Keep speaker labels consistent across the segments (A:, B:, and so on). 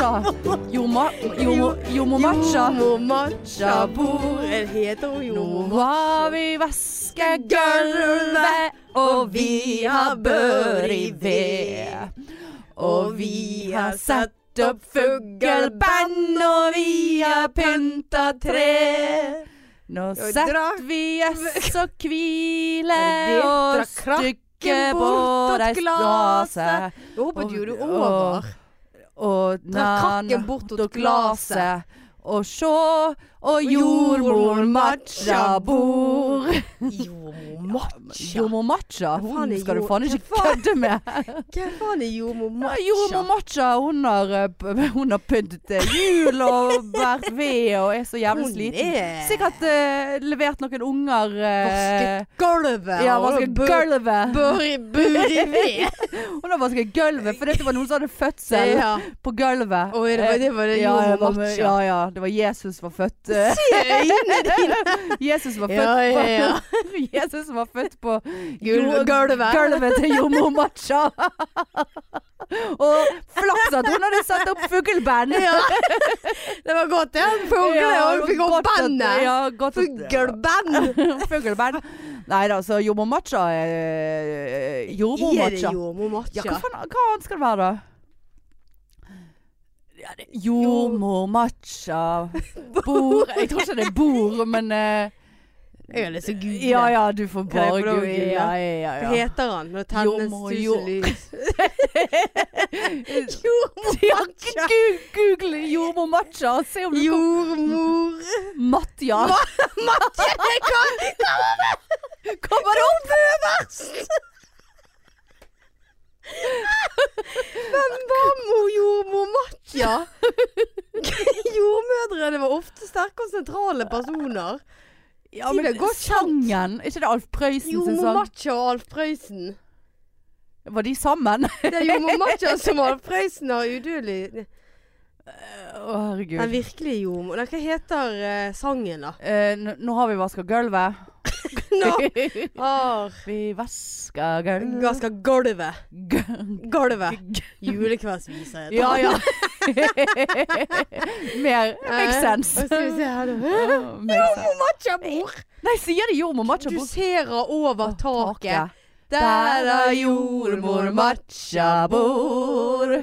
A: Jomo... Jomo... Jomomacha.
B: Matcha bor en heter hun
A: Nå
B: Jomo.
A: har vi vasket gulvet, og vi har bør i ved. Og vi har satt opp fugleband, og vi har pynta tre. Nå
B: Og
A: setter
B: drakk-
A: vi oss og hvile
B: Ja, det
A: og
B: drakk krakken
A: stykker på
B: bort åt
A: dei
B: glaset.
A: glaset.
B: Jeg håper du gjorde det
A: Og-
B: over.
A: Og
B: Drakk krakken
A: nanna
B: bort
A: og
B: åt glaset.
A: glaset. Og sjå, og jordmor matcha bord.
B: Jomo matcha.
A: Jordmor Matcha,
B: faen
A: hun
B: er
A: skal du
B: jord-
A: faen ikke
B: Hva faen?
A: kødde med.
B: Hva faen er jomo
A: Ja,
B: matcha?
A: Jordmor Matcha, hun har, eh, p- hun har pyntet eh, jul og vært ved og er så jævlig
B: Hun
A: sliten.
B: er-
A: Sikkert eh, levert noen unger eh,
B: Vasket gulvet.
A: Ja,
B: og
A: vasket
B: bør-
A: gulvet.
B: Bør i bur i ved.
A: Hun har vasket gulvet fordi det var noen som hadde fødsel
B: Ja.
A: på gulvet. Eh,
B: Oi, det var- det var det
A: ja,
B: jordmor
A: det var med-
B: Matcha.
A: Ja, ja. Det var Jesus var født. eh,
B: Øynene dine.
A: Jesus var født
B: Ja, ja, ja.
A: på Jesus var født på
B: Gul-
A: jord-
B: gulvet.
A: gulvet til jordmor Matcha. Og flaks at hun hadde satt opp fugleband.
B: Ja. Det var godt, det. Fugle
A: Ja,
B: og fikk
A: godt
B: opp
A: at-
B: bandet.
A: Ja, godt at-
B: Fugleband.
A: Fugleband. Nei da, så jordmor Matcha er eh, Jordmor
B: Er det
A: Matcha.
B: jordmor
A: Ja,
B: matcha?
A: hva faen hva annet skal det være, da? Ja, det- Jordmor Matcha Bor Jeg tror ikke det er bord, men eh,
B: Jeg har lyst til å google.
A: Ja ja, du får
B: Kan jeg
A: bare
B: få lov å
A: google.
B: gjøre?
A: Ja, ja,
B: Hva
A: ja.
B: heter han når det tennes
A: Jordmor- jord-
B: tusen lys?
A: Ja, gu- Google jordmor matcha og se om du kan
B: Jordmor
A: Matja. Kommer det opp?
B: Mammo jordmor matja. Jordmødrene var ofte sterke og sentrale personer.
A: Ja,
B: men godt
A: sangen Er ikke det Alf Prøysen sin
B: Jordmor
A: sang?
B: matja og Alf Prøysen.
A: Var de sammen?
B: Det er jordmor matja som Alf Prøysen har udødelig
A: Å,
B: Den
A: herregud.
B: virkelige jordmor Nei, Hva heter eh, sangen, da?
A: Eh, n- nå har vi vaska gulvet.
B: Har
A: vi vaska gulvet
B: Gaska gulvet.
A: Gu-
B: Gulvet. Julekveldsvisa heter
A: Ja,
B: den.
A: ja. Mer makes
B: Eh,
A: sense.
B: hva Skal vi se her, da.
A: Makes sense.
B: Matjabor.
A: Nei, sier de jordmor matcha
B: Du
A: bord?
B: ser over taket.
A: Der er jordmor matcha bord.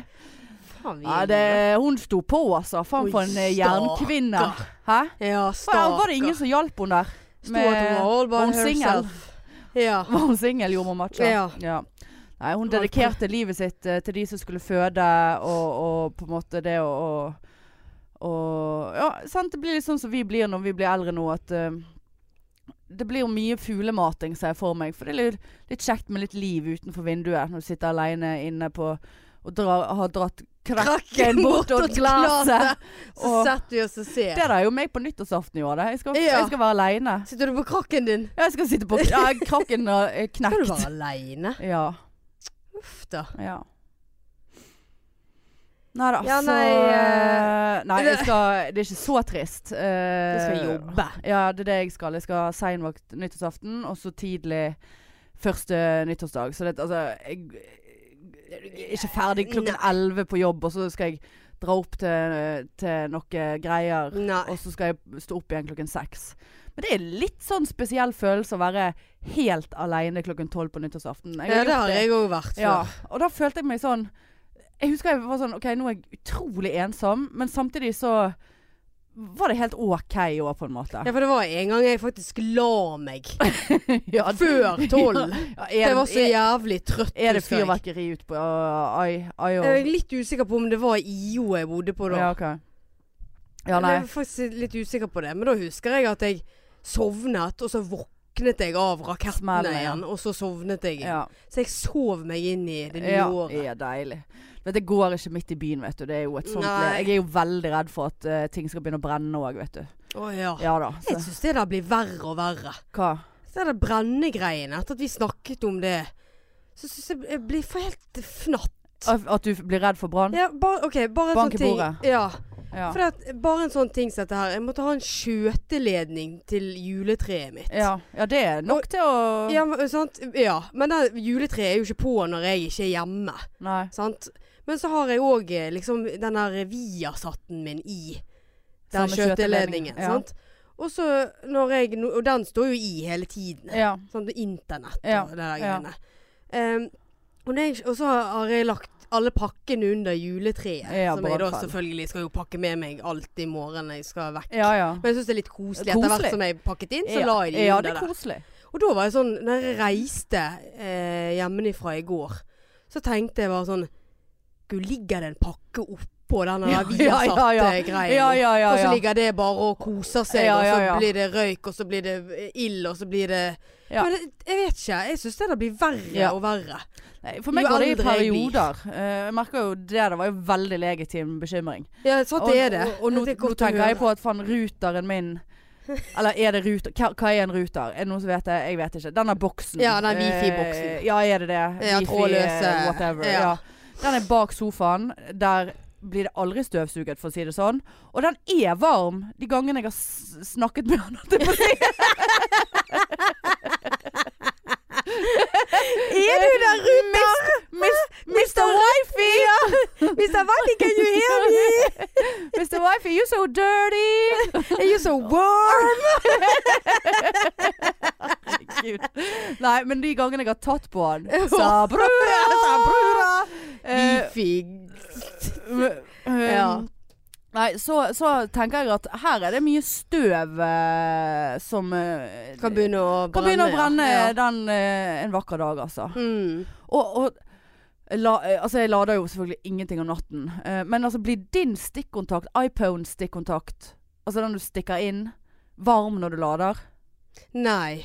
B: Faen, vi
A: Ja,
B: er
A: det, hun sto på, altså. Faen
B: Oi,
A: for en eh, jernkvinne.
B: stakkar.
A: Hæ?
B: jule. Ja,
A: Faen,
B: stakkar.
A: var det ingen som hjalp henne der?
B: Sto at hun var all by
A: var hun singel?
B: herself. Ja.
A: Var hun singel, jordmor Matcha?
B: Ja.
A: Nei, hun dedikerte livet sitt eh, til de som skulle føde, og, og på en måte det å og, og, Ja, sant, det blir litt sånn som vi blir når vi blir eldre nå, at eh, det blir jo mye fuglemating, ser jeg for meg. For det er litt, litt kjekt med litt liv utenfor vinduet når du sitter aleine inne på og drar, har dratt krakken bort
B: bortåt
A: og glaset.
B: Så
A: Og-
B: setter vi oss og ser.
A: Det der er jo meg på nyttårsaften i år. det. Jeg skal,
B: Ja.
A: jeg skal være aleine.
B: Sitter du på krakken din?
A: Jeg skal sitte på ja, Krakken er
B: Skal du
A: knekt.
B: være aleine?
A: Ja.
B: Uff da.
A: ja. Nei da,
B: Ja,
A: så
B: nei, eh,
A: eh, Nei, jeg skal, det er ikke så trist. Eh,
B: Du skal jobbe.
A: Ja, det er det jeg skal. Jeg skal ha seinvakt nyttårsaften, og så tidlig første nyttårsdag. Så det altså Jeg, jeg er ikke ferdig klokken elleve på jobb, og så skal jeg dra opp til, til noen greier.
B: Nei.
A: Og så skal jeg stå opp igjen klokken seks. Men det er litt sånn spesiell følelse å være helt aleine klokken tolv på nyttårsaften. Jeg
B: Ja, det
A: gjort
B: har jeg òg vært
A: Ja,
B: før.
A: og da følte jeg meg sånn Jeg husker jeg var sånn OK, nå er jeg utrolig ensom, men samtidig så var det helt OK i år, på en måte.
B: Ja, for det var en gang jeg faktisk la meg.
A: Ja,
B: Før tolv.
A: ja, er,
B: Jeg var så
A: er,
B: jævlig trøtt.
A: er det
B: husker jeg.
A: fyrverkeri ute på uh, I, I
B: Jeg er litt usikker på om det var i IO jeg bodde på da.
A: Ja, OK. Ja, nei.
B: Jeg er faktisk litt usikker på det, men da husker jeg at jeg sovnet, og så våknet jeg av rakettene
A: Smellet, ja.
B: igjen, og så sovnet jeg. igjen.
A: Ja.
B: Så jeg sov meg inn i det nye
A: ja,
B: året.
A: Ja, deilig. Vet, du, det går ikke midt i byen, vet du. Det er jo et sånt
B: Nei.
A: Jeg er jo veldig redd for at eh, ting skal begynne å brenne òg, vet du.
B: Å ja.
A: Ja da. Så,
B: Jeg synes det der blir verre og verre.
A: hva?
B: Så er det brennegreiene, etter at vi snakket om det, så synes jeg jeg blir for helt fnatt.
A: At at du blir redd for brann?
B: Ja, bare, ok, bare
A: Mm.
B: en
A: Bank i
B: sånn ting.
A: bordet.
B: Ja,
A: Ja.
B: for det, at- bare en sånn ting som dette her. Jeg måtte ha en skjøteledning til juletreet mitt.
A: Ja. ja, det er nok til å
B: Ja, men, sant? ja, men det juletreet er jo ikke på når jeg ikke er hjemme.
A: Nei.
B: Sant? Men så har jeg òg eh, liksom den der Viasatten min i den
A: Samme
B: skjøteledningen.
A: skjøteledningen, ja.
B: Sant? Og så når jeg no- Og den står jo i hele tiden.
A: Ja.
B: Sånn internett og
A: Ja,
B: det der
A: ja.
B: greiene. Em, og, når jeg, og så har jeg lagt alle pakkene under juletreet.
A: Ja,
B: som jeg da
A: brannfall.
B: selvfølgelig skal jo pakke med meg alt i morgen når jeg skal vekk.
A: ja, ja.
B: Men jeg syns det er litt koselig. Etter
A: Koselig.
B: hvert som jeg pakket inn, så
A: Ja.
B: la jeg de
A: ja, det
B: under
A: er
B: der.
A: koselig.
B: Og da var jeg sånn Når jeg reiste eh, hjemmefra i går, så tenkte jeg bare sånn Gud, ligger det en pakke oppå den der
A: Ja, ja, ja,
B: Viasat-greia?
A: ja. Ja, ja, ja.
B: Og så
A: ja.
B: ligger det bare og koser seg,
A: Ja, ja,
B: og
A: ja.
B: så blir det røyk, og så blir det eh, ild, og så blir det
A: Ja.
B: Men det- jeg vet ikke. Jeg syns det der blir verre
A: Ja.
B: og verre.
A: Nei, For meg
B: Jo
A: går det i
B: eldre jeg blir.
A: perioder. Eh, Jeg merker jo det der var jo veldig legitim bekymring.
B: Ja, sant
A: Og-
B: det Sånn er det.
A: Og, og nå,
B: Det er
A: nå
B: godt å
A: tenker jeg
B: høre.
A: på at faen, ruteren min Eller er det ruter? Hva, hva er en ruter? Er det noen som vet det? Jeg vet ikke. Denne boksen.
B: Ja, den wifi-boksen.
A: Eh, Ja, er det det?
B: Ja,
A: Wifi,
B: trådløse.
A: eh, Whatever.
B: Ja.
A: Ja. Den er bak sofaen. Der blir det aldri støvsuget, for å si det sånn. Og den er varm de gangene jeg har s- snakket med han. holdt jeg på å si.
B: Er du der ute?
A: Mis- Mr. Wifi!
B: Mr. Valley, can you hear me?
A: Mr. Wifi, you're so dirty!
B: Are you so warm?
A: Gud. Nei, men de gangene jeg har tatt på han
B: Sa
A: Sa brura! Sa brura! Eh, eh,
B: Ja.
A: Nei, så, så tenker jeg at her er det mye støv eh, som eh,
B: Kan begynne å brenne.
A: kan begynne å brenne
B: ja.
A: den eh, en vakker dag, altså.
B: Mm.
A: Og, og la, eh, altså jeg lader jo selvfølgelig ingenting om natten. Eh, men altså blir din stikkontakt, iPhone-stikkontakt, altså den du stikker inn, varm når du lader?
B: Nei.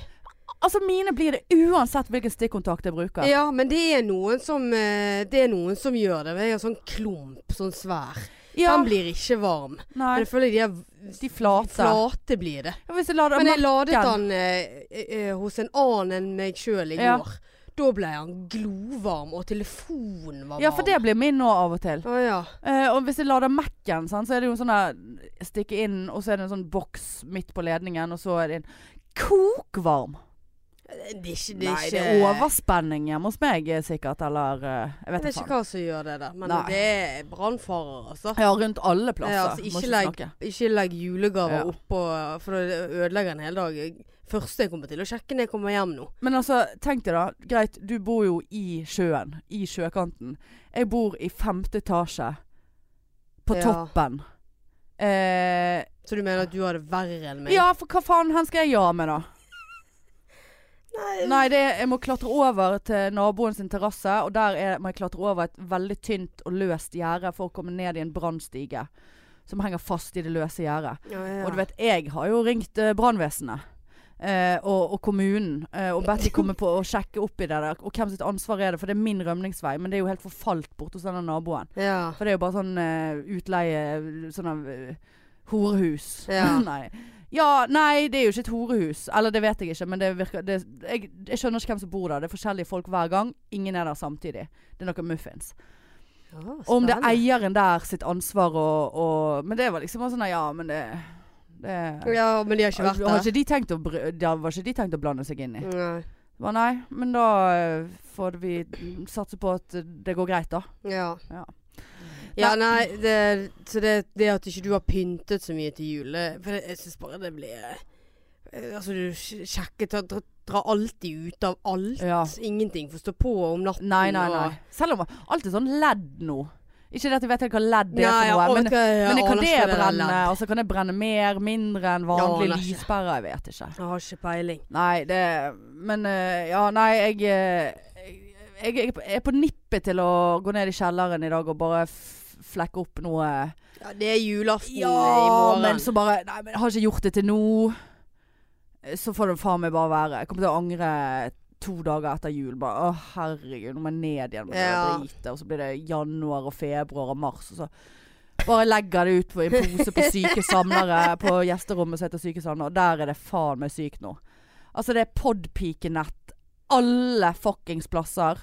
A: Altså mine blir det uansett hvilken stikkontakt jeg bruker.
B: Ja, men det er noen som eh, Det er noen som gjør det. men Jeg har sånn klump, sånn svær.
A: Ja,
B: Den blir ikke varm.
A: nei,
B: Men jeg føler de er
A: de flate.
B: flate blir det.
A: Ja, hvis jeg lader
B: Men jeg
A: natt-
B: ladet
A: nakken.
B: den eh, eh, hos en annen enn meg sjøl i
A: Ja.
B: går. Da ble han glovarm, og telefonen var varm.
A: Ja, for det blir min nå av og til.
B: Å ja.
A: Eh, og hvis jeg lader Mac-en, sant, så er det jo en sånn der Stikke inn, og så er det en sånn boks midt på ledningen, og så er det en Kokvarm!
B: Det er ikke, det er
A: Nei,
B: ikke
A: det er overspenning hjemme hos meg eh, sikkert, eller eh, Jeg vet
B: Jeg vet
A: ikke
B: ikke hva som gjør det der, men
A: Nei.
B: det er brannfarer, altså.
A: Ja, rundt alle plasser.
B: Ja, altså,
A: må
B: ikke
A: ikke
B: legg-
A: snakke.
B: Ikke legg julegaver
A: Ja.
B: oppå, for det ødelegger en hel dag. Første jeg kommer til å sjekke når jeg kommer hjem nå.
A: Men altså, tenk deg da. Greit, du bor jo i sjøen. I sjøkanten. Jeg bor i femte etasje. På
B: Ja.
A: toppen. Eh,
B: Så du mener at du har det verre enn meg?
A: ja, for hva faen hen skal jeg gjøre med, da?
B: Nei.
A: Nei, det er, jeg må klatre over til naboen sin terrasse, og der er, må jeg klatre over et veldig tynt og løst gjerde for å komme ned i en brannstige. Som henger fast i det løse gjerdet.
B: Ja, ja.
A: Og du vet, jeg har jo ringt eh, brannvesenet. Eh, og, og kommunen. Eh, og bedt de komme på og sjekke opp i det der. Og hvem sitt ansvar er det? For det er min rømningsvei. Men det er jo helt forfalt borte hos denne naboen.
B: ja.
A: For det er jo bare sånn eh, utleie Sånn av eh, horehus.
B: Ja.
A: nei. Ja, nei, det er jo ikke et horehus. Eller det vet jeg ikke, men det virker det, jeg, jeg skjønner ikke hvem som bor der. Det er forskjellige folk hver gang. Ingen er der samtidig. Det er noe muffins. Om det er eieren der sitt ansvar og, og Men det var liksom bare sånn Ja, men det, det
B: Ja, men de har ikke
A: har
B: vært der. Mm.
A: ikke de tenkt å, br- da var ikke de tenkt å blande seg inn i?
B: Nei.
A: Bare nei, men da eh, får vi satse på at det går greit, da.
B: Ja.
A: Ja.
B: Ja, nei, det, så det, det at ikke du har pyntet så mye til jul det- For jeg syns bare det blir eh, Altså, du sj- sjekker dra, dra, dra alltid ut av alt.
A: Ja.
B: Ingenting får stå på om natten.
A: Nei, nei, nei.
B: og-
A: Selv om alt er sånn ledd nå. Ikke det at jeg vet helt hva ledd er
B: Nei,
A: for
B: jeg
A: noe, men,
B: orker- jeg
A: men kan
B: aner
A: det
B: ikke hva der
A: brenne?
B: ledd.
A: Altså, kan det brenne mer, mindre enn
B: Jeg
A: vanlig
B: aner ikke.
A: lyspære? Jeg vet ikke.
B: Jeg har ikke peiling.
A: Nei, det Men eh, ja, nei, jeg eh, Jeg, jeg er på nippet til å gå ned i kjelleren i dag og bare f- flekke opp noe
B: Ja, det er julaften
A: Ja,
B: i morgen.
A: men så bare Nei, men jeg har ikke gjort det til nå. Eh, Så får det faen meg bare være. Jeg kommer til å angre to dager etter jul. Bare å herregud, nå må jeg ned igjen med det
B: Ja.
A: dritet. Og så blir det januar og februar og mars, og så bare legger det ut på en pose på syke samlere på gjesterommet som heter Syke samlere. Og der er det faen meg sykt nå. Altså, det er podpikenett alle fuckings plasser.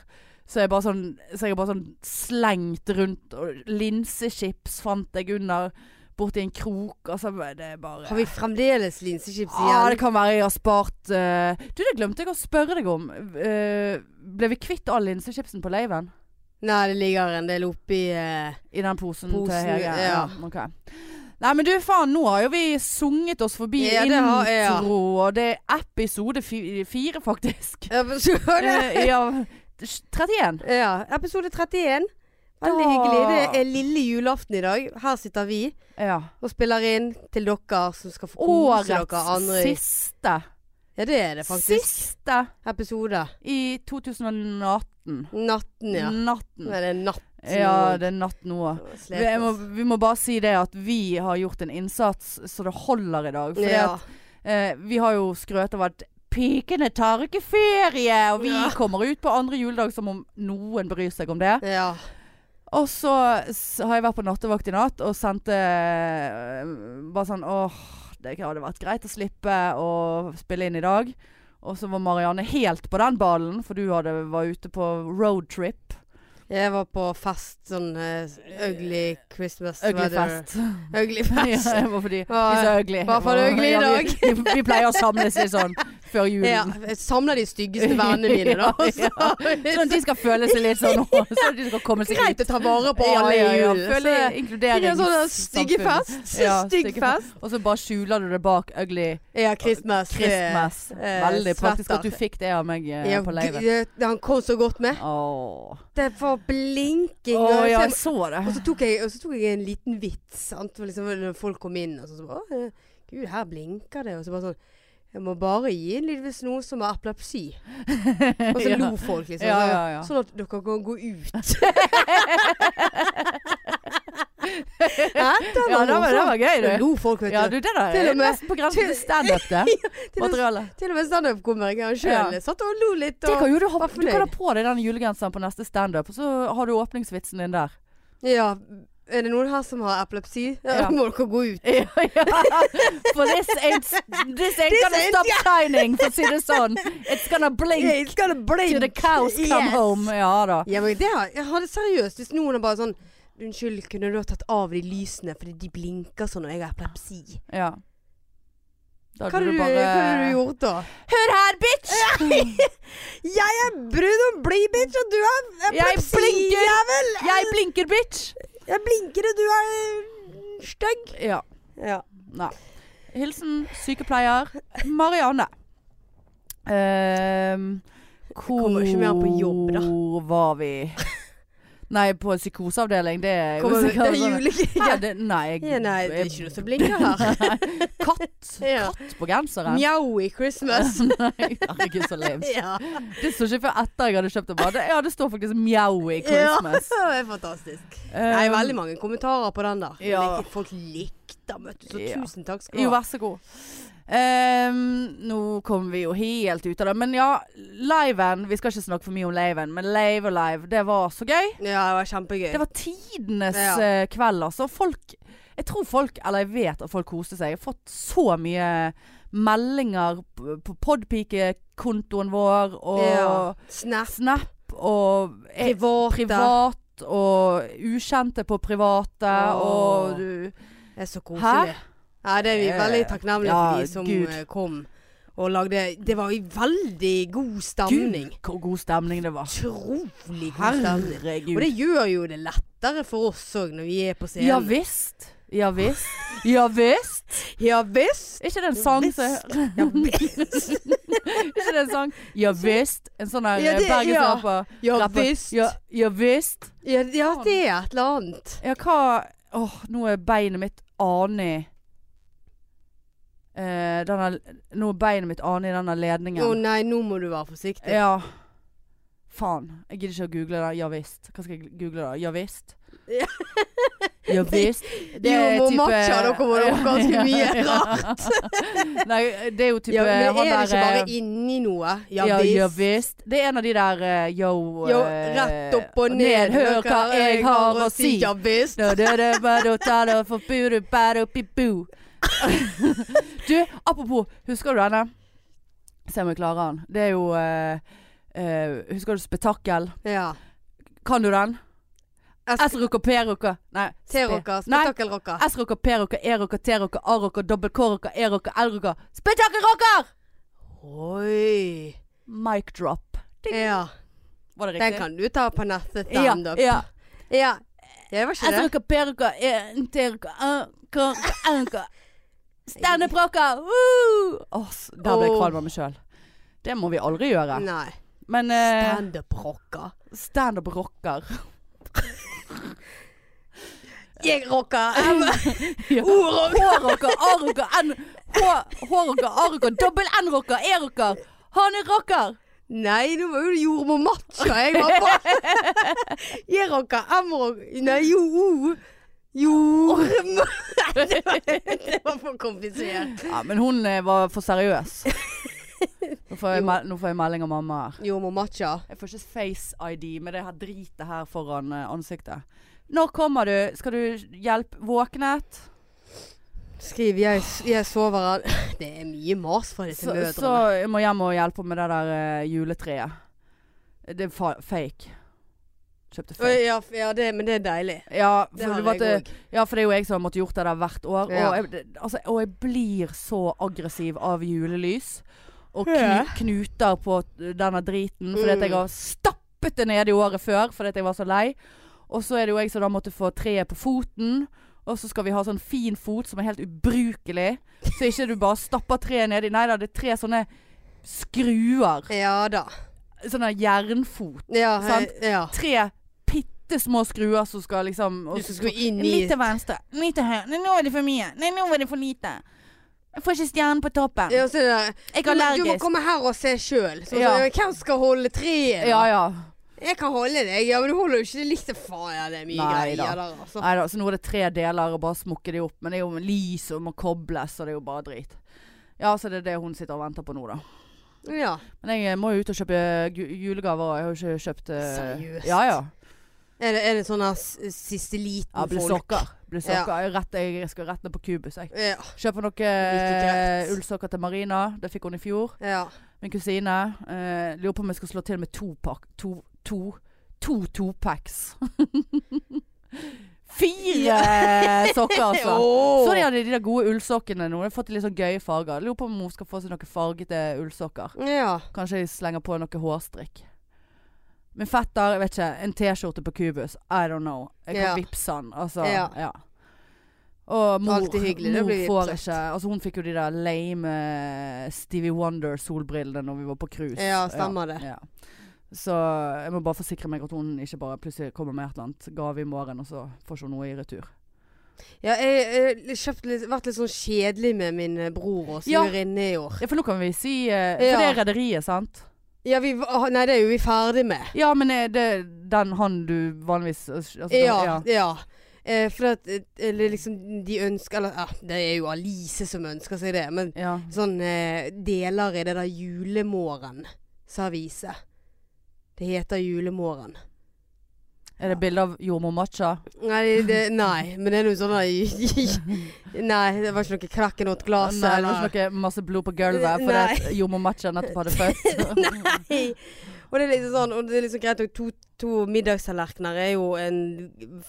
A: Så jeg bare sånn, så jeg er bare sånn slengt rundt. Og linsechips fant jeg under borti en krok. Altså, det er bare
B: Har vi fremdeles linsechips
A: Ja,
B: igjen?
A: det kan være jeg har spart eh, Du, det glemte jeg å spørre deg om. Eh, ble vi kvitt all linsechipsen på laven?
B: Nei, det ligger en del oppi eh,
A: I den posen,
B: Posen,
A: til Hege?
B: ja.
A: ok. Nei, men du faen, nå har jo vi sunget oss forbi
B: Ja, det har- ja.
A: intro, og det er episode fi- fire, faktisk.
B: episode,
A: Eh, ja, 31.
B: ja, episode 31. Veldig
A: Da-
B: hyggelig. Det er lille julaften i dag. Her sitter vi
A: Ja.
B: og spiller inn til dere som skal få kose dere
A: Årets
B: andre.
A: siste.
B: Ja, det er det faktisk.
A: Siste
B: Episode.
A: i 2018.
B: Natten, ja.
A: Natten.
B: Nei, det er natt.
A: Ja, Mm. det er natt nå. Vi
B: Slet
A: må,
B: oss.
A: vi må bare si det at vi har gjort en innsats så det holder i dag. For det
B: Ja.
A: at, eh, vi har jo skrøt av at pikene tar ikke ferie, og vi
B: Ja.
A: kommer ut på andre juledag som om noen bryr seg om det.
B: ja.
A: Og så s- har jeg vært på nattevakt i natt og sendte eh, bare sånn åh, det hadde vært greit å slippe å spille inn i dag. Og så var Marianne helt på den ballen, for du hadde, var ute på roadtrip.
B: Jeg var på fest, sånn eh, ugly Christmas
A: Ugly
B: weather.
A: fest.
B: Ugly
A: Ja,
B: fest.
A: det var fordi vi
B: Hva-
A: er så ugly.
B: hva for ugly i
A: Ja, vi-
B: dag?
A: Vi, vi pleier å samles i sånn før julen.
B: Ja, jeg samler de styggeste vennene mine, da.
A: Mm. Ja, Sånn at de skal føle seg litt sånn Sånn at de skal komme seg ut.
B: Greit å ta vare på alle i
A: ja, ja,
B: julen.
A: Føle
B: Så- Det er
A: inkludering.
B: en sånn der stygge fest.
A: Ja,
B: Stygg
A: stygge
B: fest.
A: Og så bare skjuler du det bak ugly
B: Ja, Christmas.
A: Christmas.
B: eh,
A: Veldig praktisk
B: sweater.
A: at du fikk det av meg eh,
B: Ja,
A: på leiven.
B: g- det- han kom så godt med.
A: Åh.
B: Det var blinking.
A: Åh,
B: og
A: ja,
B: så-
A: jeg så det.
B: Og så tok jeg, og så tok jeg en liten vits. Sant? For Liksom, når folk kom inn og så, så bare, «Å, eh, Gud, her blinker det. Og så bare sånn Jeg må bare gi en lyd hvis noen som har epilepsi. Og så
A: Ja.
B: lo folk, liksom.
A: Ja,
B: så-
A: ja, ja.
B: Sånn at dere kan gå ut. Hæ? Det
A: Ja, det var, det var gøy,
B: Det
A: du.
B: lo folk, vet
A: Ja,
B: du. liksom-
A: du, det der
B: Til
A: er
B: og med-
A: nesten på grensen til standup, det.
B: Til og,
A: Materialet.
B: til og med standup-komikeren sjøl
A: Ja.
B: satt og lo litt.
A: Det
B: Og,
A: kan jo du ha
B: var
A: Du kan ha
B: fornøyd.
A: på deg den julegenseren på neste standup, og så har du åpningsvitsen din der.
B: ja, er det noen her som har epilepsi? Ja.
A: Ja.
B: Da må dere gå ut.
A: Ja, ja. For this ain't, this ain't
B: This
A: gonna
B: ain't-
A: stop shining, for å si det sånn. It's gonna blink
B: It's gonna blink.
A: till the cows come
B: Yes.
A: home. Ja da.
B: Ja, men det har, jeg hadde seriøst Hvis noen er bare sånn Unnskyld, kunne du ha tatt av de lysene fordi de blinker sånn og jeg har epilepsi?
A: Ja. Da hadde
B: Hva hadde
A: du
B: du,
A: bare
B: hva hadde du gjort da?
A: Hør her, bitch!
B: Jeg er brun og blid, bitch, og du har
A: epilepsi, blinker.
B: jævel!
A: Jeg blinker, bitch!
B: Jeg blinker, og du er eh, stygg.
A: Ja.
B: Ja.
A: Nei. Hilsen sykepleier Marianne. Ehm, hvor
B: Kommer ikke mer på jobb, da.
A: var vi? Nei, på psykoseavdeling, det er jo
B: Kommer det
A: sikkert
B: er
A: sånn-
B: julegreier?
A: Nei, det, nei, jeg,
B: Ja, nei, det er ikke noe som blinker her.
A: Nei, Katt,
B: Ja.
A: katt på genseren.
B: Mjau i Christmas.
A: Nei, herregud, så lame.
B: Ja,
A: Det står ikke før etter jeg hadde kjøpt det. Bare. det- Ja, det står faktisk mjau i
B: Ja.
A: Christmas.
B: det er fantastisk. Nei,
A: Um,
B: veldig mange kommentarer på den der.
A: Ja.
B: Folk likte den, vet du. Så
A: Ja.
B: tusen takk skal
A: Jo,
B: du ha.
A: vær så god. Ehm, nå kom vi jo helt ut av det. Men ja, liven. Vi skal ikke snakke for mye om liven, men live og live, det var så gøy.
B: Ja, det var kjempegøy.
A: Det var tidenes
B: Ja.
A: eh, kveld, altså. Folk Jeg tror folk, eller jeg vet at folk koste seg. Jeg har fått så mye meldinger p- på Podpike-kontoen vår og
B: Ja. Snap.
A: Snap og eh,
B: Private.
A: privat og ukjente på private
B: Åh.
A: og du,
B: Det er så
A: Hæ?
B: koselig. Ja, det er vi
A: Eh,
B: veldig takknemlige for
A: ja,
B: de som
A: Gud.
B: eh, kom og lagde Det var i veldig god stemning.
A: Gud, hvor god stemning det var.
B: Utrolig god stemning. Og
A: Herregud.
B: det gjør jo det lettere for oss òg når vi er på scenen.
A: Ja visst. Ja visst. Ja visst.
B: Ja visst!
A: Er ikke det en sang Sånn som
B: Visst.
A: er
B: Ja visst!
A: ikke det en sang? Ja visst. En sånn her
B: Ja, det- ja.
A: bergensrapp. Ja.
B: Ja
A: Rapper.
B: visst!
A: Ja,
B: Ja,
A: ja visst.
B: ja, det er et eller annet.
A: Ja, hva Åh, nå er beinet mitt ane i eh, denne, Nå er beinet mitt ane i denne
B: Å
A: ledningen.
B: nei, nå må du være forsiktig.
A: Ja. Faen. Jeg gidder ikke å google det. Ja visst. Hva skal jeg google da? Ja visst.
B: Ja.
A: Ja visst.
B: Det er jo, må matche dere må dere ganske mye rart.
A: Nei, det er jo type
B: Ja, men
A: han
B: er det ikke
A: der,
B: bare
A: eh,
B: inni noe? Ja,
A: ja,
B: visst.
A: ja visst. Det er en av de der eh, yo,
B: Jo,
A: eh,
B: rett opp og ned.
A: Hør hva jeg har å si.
B: Ja visst.
A: Da, da, da, ba, da, ta, da, for bu, du, ba, da, bi, bu. Du, apropos, husker du denne? Se om jeg klarer den. Det er jo eh, eh, Husker du Spetakkel?
B: Ja.
A: Kan du den?
B: Es-
A: S-rocka, P-rocka Nei.
B: T-rocka,
A: Nei.
B: spetakkelrocka.
A: S-rocka, P-rocka, E-rocka, T-rocka, A-rocka, dobbel K-rocka, E-rocka, L-rocka. Spetakkelrocker!
B: Oi.
A: Mic drop. Ding.
B: Ja.
A: Var det
B: Den
A: riktig?
B: kan du ta på nettet.
A: ja,
B: stand up.
A: ja.
B: ja. Jeg var ikke
A: Jeg
B: det.
A: bruker peruker, en teruker, anker, anker. Sternebråker! Da ble jeg
B: Åh.
A: kvalm av meg sjøl. Det må vi aldri gjøre.
B: Nei.
A: Men eh,
B: Standup-rocker.
A: standup rocker.
B: Jeg rocker!
A: Ja.
B: O-rocker!
A: H-rocker, A-rocker, N... H- H-rocker, A-rocker, dobbel N-rocker, E-rocker. Han er E rocker!
B: Nei, nå var jo det jordmor Macho. Jeg var bare Jeg rocker M-rock Nei, jo o. Jordmor Nei, det var- Det var for komplisert.
A: Ja, men hun eh, var for seriøs. Nå får jeg,
B: Jo.
A: mel nå får jeg melding av mamma her.
B: Jordmor Macho.
A: Jeg får ikke face-ID med det her dritet her foran eh, ansiktet. Når kommer du? Skal du hjelpe våknet?
B: Skriv 'jeg, jeg sover an'. Det er mye mas fra disse
A: Så,
B: mødrene.
A: så jeg må hjem og hjelpe med det der eh, juletreet. Det er fa fake. Kjøpte
B: Å,
A: fake.
B: Ja, f- ja det, men det er deilig.
A: Ja,
B: Det
A: for det,
B: har
A: var
B: jeg
A: at,
B: òg.
A: ja, for det er jo jeg som har måttet gjort det der hvert år.
B: Ja.
A: Og, jeg, det- altså, og jeg blir så aggressiv av julelys. Og knu,
B: Ja.
A: knuter på denne driten. Fordi at jeg
B: Mm.
A: har stappet det ned i året før fordi at jeg var så lei. Og så er det jo jeg som da måtte få treet på foten. Og så skal vi ha sånn fin fot som er helt ubrukelig. Så ikke du bare stapper treet nedi. Nei da, det er tre sånne skruer.
B: Ja da.
A: Sånne jernfot.
B: Ja, he-
A: Sant?
B: ja.
A: Tre bitte små skruer som skal liksom og
B: Du
A: så
B: som skulle inn i
A: Litt til venstre, litt til høyre. Nei, nå er det for mye. Nei, nå er det for lite. Jeg får ikke stjernen på toppen.
B: ja, så er det,
A: Jeg er
B: du, må- du må
A: allergisk.
B: komme her og se sjøl. Sånn,
A: Ja.
B: så, Hvem skal holde treet? da?
A: Ja, ja.
B: Jeg kan holde deg, ja, men du holder jo ikke det likt. Faen, ja, det er mye
A: Nei da.
B: greier der, altså.
A: Nei da, så nå er det tre deler og bare smukke de opp. Men det er jo lys og må kobles, og det er jo bare drit. Ja, så det er det hun sitter og venter på nå, da.
B: Ja.
A: Men jeg eh, må jo ut og kjøpe gu- julegaver, og jeg har jo ikke kjøpt eh,
B: Seriøst?
A: Ja ja.
B: Er det, er det sånn her s- siste liten
A: ja blir
B: folk?
A: sokker. Blir sokker. Jeg, rett, jeg skal rett ned på Cubus, jeg.
B: Ja.
A: Kjøper noe
B: Like greit.
A: ullsokker til eh, Marina. Det fikk hun i fjor.
B: ja.
A: Min kusine. Eh, lurer på om jeg skal slå til med to pakk To to to topacks. Fire sokker, altså.
B: Åh.
A: Så de hadde de der gode ullsokkene nå. De har fått litt sånn gøye farger. Lurer på om hun skal få seg noen fargete ullsokker.
B: ja.
A: Kanskje jeg slenger på noe hårstrikk. Min fetter, jeg vet ikke, en T-skjorte på Cubus. I don't know. Jeg kan
B: Ja.
A: vippse han. Altså, ja.
B: Ja.
A: Og mor,
B: Alltid hyggelig, det
A: mor
B: blir
A: får
B: vippset.
A: ikke Altså hun fikk jo de der lame eh, Stevie Wonder-solbrillene når vi var på cruise.
B: Ja, stemmer det.
A: Ja. Så jeg må bare forsikre meg at hun ikke bare plutselig kommer med et eller annet gave i morgen, og så får ikke hun noe i retur.
B: Ja, jeg har kjøpt litt, vært litt sånn kjedelig med min eh, bror og
A: Ja.
B: svigerinne i år.
A: Ja, for nå kan vi si eh, For
B: Ja.
A: det er rederiet, sant?
B: Ja, vi, var- nei, det er jo vi ferdig med.
A: Ja, men er det den han du vanligvis altså,
B: Ja, ja. Eh, for at eh, Eller liksom de ønsker Eller ja, det er jo Alice som ønsker seg det, men
A: ja.
B: sånn eh, deler i det der julemorgen-serviset. Det heter julemorgen.
A: Er det bilde av jordmor Matcha?
B: Nei, det, nei, men det er noe sånn der Nei, det var ikke noe knekk i noe glass
A: Nei, det var
B: eller
A: ikke noe masse blod på gulvet fordi
B: Nei.
A: at jordmor Matcha nettopp hadde født.
B: Nei! Og det er liksom sånn Og det er liksom greit nok to, to middagstallerkener er jo en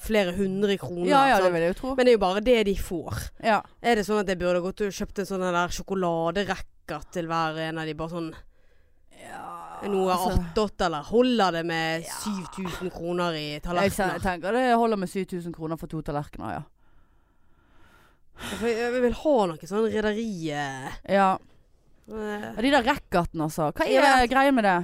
B: flere hundre kroner.
A: ja, ja, det
B: sant?
A: vil jeg jo tro.
B: Men det er jo bare det de får.
A: Ja.
B: Er det sånn at jeg burde gått og kjøpt en sånn der sjokoladerekker til hver en av de bare sånn Noe
A: altså.
B: attåt, eller holder det med 7000 kroner i
A: Jeg
B: tallerkener?
A: tenker det holder med 7000 kroner for to tallerkener, ja.
B: For Jeg jeg vil ha noe sånn rederiet
A: ja.
B: eh,
A: Ja, De der racketene, altså. Hva er
B: Ja.
A: greia med det?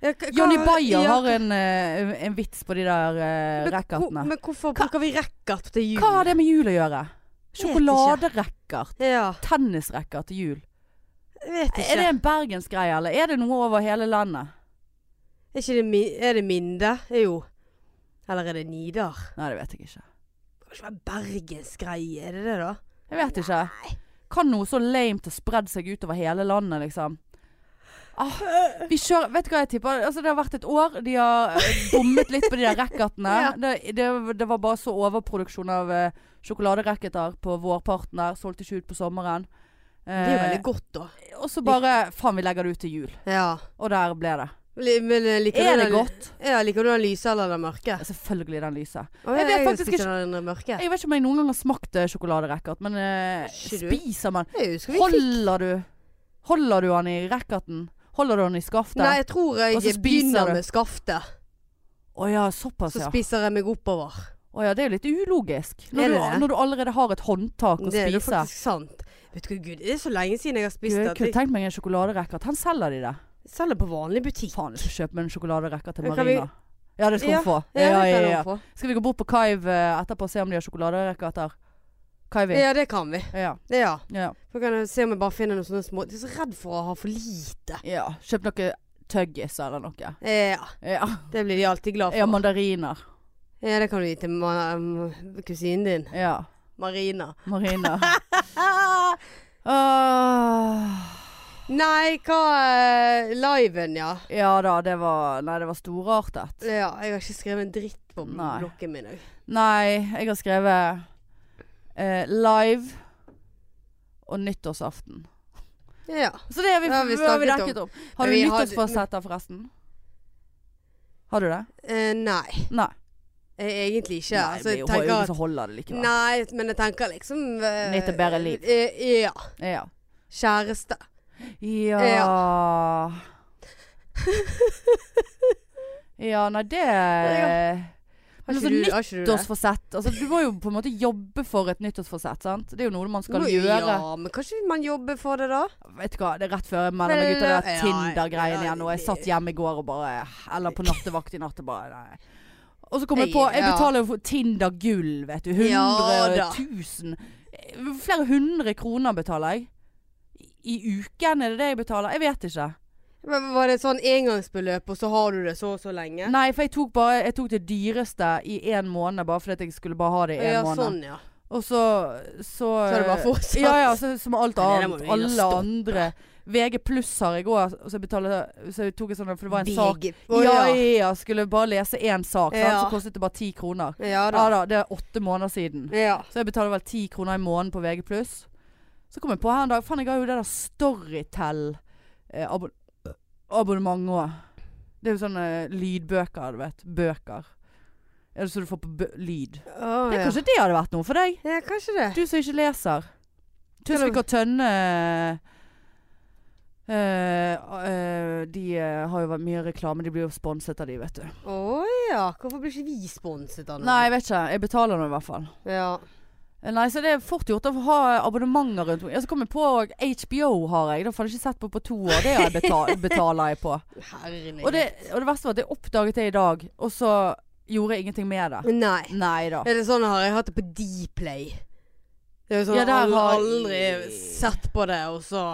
B: ja, hva- hva-
A: Johnny Bayer
B: ja,
A: har en, eh, en vits på de der uh,
B: Men hvor-
A: racketene.
B: Men hvorfor bruker vi racket til jul?
A: Hva har det med jul å gjøre?
B: Vet ikke.
A: Sjokoladerekker.
B: Ja,
A: Tennisrekker til jul.
B: jeg vet ikke.
A: Er det en bergensgreie, eller er det noe over hele landet?
B: Er, ikke det, mi- er det Minde? Eh, Jo. Eller er det Nidar?
A: Nei, det vet jeg ikke.
B: Det kan ikke være bergensgreie, er det det da?
A: Jeg vet ikke. Kan noe så lamet ha spredd seg utover hele landet, liksom? Ah, vi kjører Vet du hva jeg tipper? Altså, det har vært et år. De har eh, bommet litt på de der racketene.
B: Ja.
A: det, det, det var bare så overproduksjon av eh, sjokoladerekketer på vårparten der. Solgte ikke ut på sommeren.
B: Det er jo
A: Eh,
B: veldig godt da.
A: og så bare Faen, vi legger det ut til jul.
B: Ja.
A: Og der ble det.
B: Li- Men eh, liker
A: Er
B: du
A: det
B: den-
A: godt?
B: Ja, liker du den lyse eller den mørke?
A: Selvfølgelig den lyse.
B: Å,
A: Jeg vet faktisk
B: spiser den mørke.
A: Jeg vet ikke om jeg noen gang har smakt eh, sjokoladerekkert, men eh,
B: Ikke du?
A: spiser man
B: Jeg husker vi fikk-
A: Holder du Holder du han i racketen? Holder du han i skaftet?
B: Nei, jeg tror
A: Og så
B: jeg
A: spiser
B: begynner
A: du.
B: med skaftet.
A: Å ja, såpass,
B: Så
A: ja.
B: spiser jeg meg oppover.
A: Å ja, det er jo litt ulogisk. Når,
B: Er det
A: du,
B: det?
A: når du allerede har et håndtak å
B: Det er jo
A: spise.
B: faktisk sant. Vet du hva, gud, det er så lenge siden jeg har
A: Gud,
B: spist
A: Jeg
B: at
A: kunne
B: jeg
A: tenkt meg en sjokoladerekkert. Han selger de det.
B: selger på vanlig butikk.
A: Faen, jeg skal kjøpe meg en sjokoladerekke til
B: Kan
A: Marina.
B: vi-
A: Ja, det skal
B: Ja,
A: hun få.
B: Ja,
A: Ja,
B: det
A: ja,
B: kan
A: ja.
B: hun få.
A: Skal vi gå bort på Kaiv eh, etterpå og se om de har sjokoladerekkert der? Kaivin.
B: Ja, det kan vi.
A: Ja.
B: Det, ja.
A: ja.
B: Så kan jeg se om jeg bare finner noen sånne små Jeg er så redd for å ha for lite.
A: ja. Kjøp noe tøggis eller noe.
B: Ja.
A: Ja.
B: Det blir de alltid glad
A: ja,
B: for.
A: mandariner.
B: Ja, det kan du gi til ma m- kusinen din.
A: Ja.
B: Marina.
A: Marina.
B: Ah!
A: Åh.
B: Nei, hva eh, Liven, ja.
A: Ja da, det var Nei, det var storartet.
B: Ja, jeg har ikke skrevet en dritt på
A: Nei.
B: blokken min. jeg.
A: Nei, jeg har skrevet eh, live og nyttårsaften.
B: Ja.
A: Så det har vi,
B: Det har vi
A: det har vi
B: snakket
A: dekket opp. Har du
B: Vi hadde-
A: nyttårsforsetter forresten? Har du det?
B: Eh, nei,
A: Nei.
B: eh, egentlig ikke.
A: Nei,
B: altså,
A: det er
B: jeg
A: jo
B: tenker
A: ingen
B: at
A: som holder det likevel.
B: Nei, men jeg tenker liksom eh,
A: Nytt og bedre liv.
B: eh, ja.
A: Ja.
B: Kjæreste.
A: Ja. ja, nei det
B: Har
A: Men
B: ikke,
A: altså,
B: du, har ikke du det?
A: Nyttårsforsett. Altså, du må jo på en måte jobbe for et nyttårsforsett, sant? Det er jo noe man skal
B: Nå-
A: gjøre.
B: Ja, men kanskje man jobber for det, da?
A: Vet du hva, det er rett før jeg melder meg ut av det
B: Ja,
A: Tinder-greien
B: ja,
A: igjen. Og jeg
B: det-
A: satt hjemme i går og bare Eller på nattevakt i natt og bare nei. Og så kom jeg
B: Jeg-
A: på Jeg
B: ja.
A: betaler jo for Tinder-gull, vet du.
B: Ja,
A: Hundre
B: da.
A: tusen. Eh, Flere hundre kroner betaler jeg. I i uken, er det det jeg betaler? Jeg vet ikke.
B: Men Var det et sånn engangsbeløp, og så har du det så og så lenge?
A: Nei, for jeg tok bare Jeg tok det dyreste i én måned, bare fordi at jeg skulle bare ha det i én
B: ja,
A: måned.
B: sånn, ja.
A: Og så Så
B: Så er det bare fortsatt.
A: Ja, ja, så, som alt
B: Nei, det der må
A: annet.
B: vi
A: Alle
B: stoppe.
A: andre. VG pluss har jeg òg, så jeg betaler Så jeg tok en sånn For det var en sak.
B: Big. Å,
A: Ja,
B: ja.
A: ja, ja. Skulle bare lese én sak, sant?
B: Ja.
A: så kostet det bare ti kroner.
B: ja da.
A: Ja da, det er åtte måneder siden.
B: Ja.
A: Så jeg betaler vel ti kroner i måneden på VG pluss. Så kom jeg på her en dag Faen, jeg har jo det der eh, Storytel-abonnement òg. Det er jo sånne eh, lydbøker, du vet. Bøker. Er det så du får på bø lyd?
B: Å,
A: Det,
B: ja.
A: Kanskje det hadde vært noe for deg?
B: ja, kanskje det.
A: Du som ikke leser. Tusvik og Tønne eh, eh, De eh, har jo vært mye reklame. De blir jo sponset av de, vet du.
B: Å ja. Hvorfor blir ikke vi sponset av noe?
A: Nei, jeg vet ikke. Jeg betaler nå i hvert fall.
B: Ja.
A: Eh, Nei, så det er fort gjort å ha abonnementer rundt omkring. Ja, så kom jeg på og HBO har jeg. Det har jeg faen ikke sett på på to år. Det har jeg beta- betaler jeg på.
B: Herlig.
A: Og det, og det verste var at jeg oppdaget det i dag, og så gjorde jeg ingenting med det.
B: Nei.
A: Nei da.
B: Er det sånn har jeg hatt det på Dplay? Det er jo sånn
A: Ja,
B: jeg
A: der
B: har
A: har-
B: aldri sett på det, og så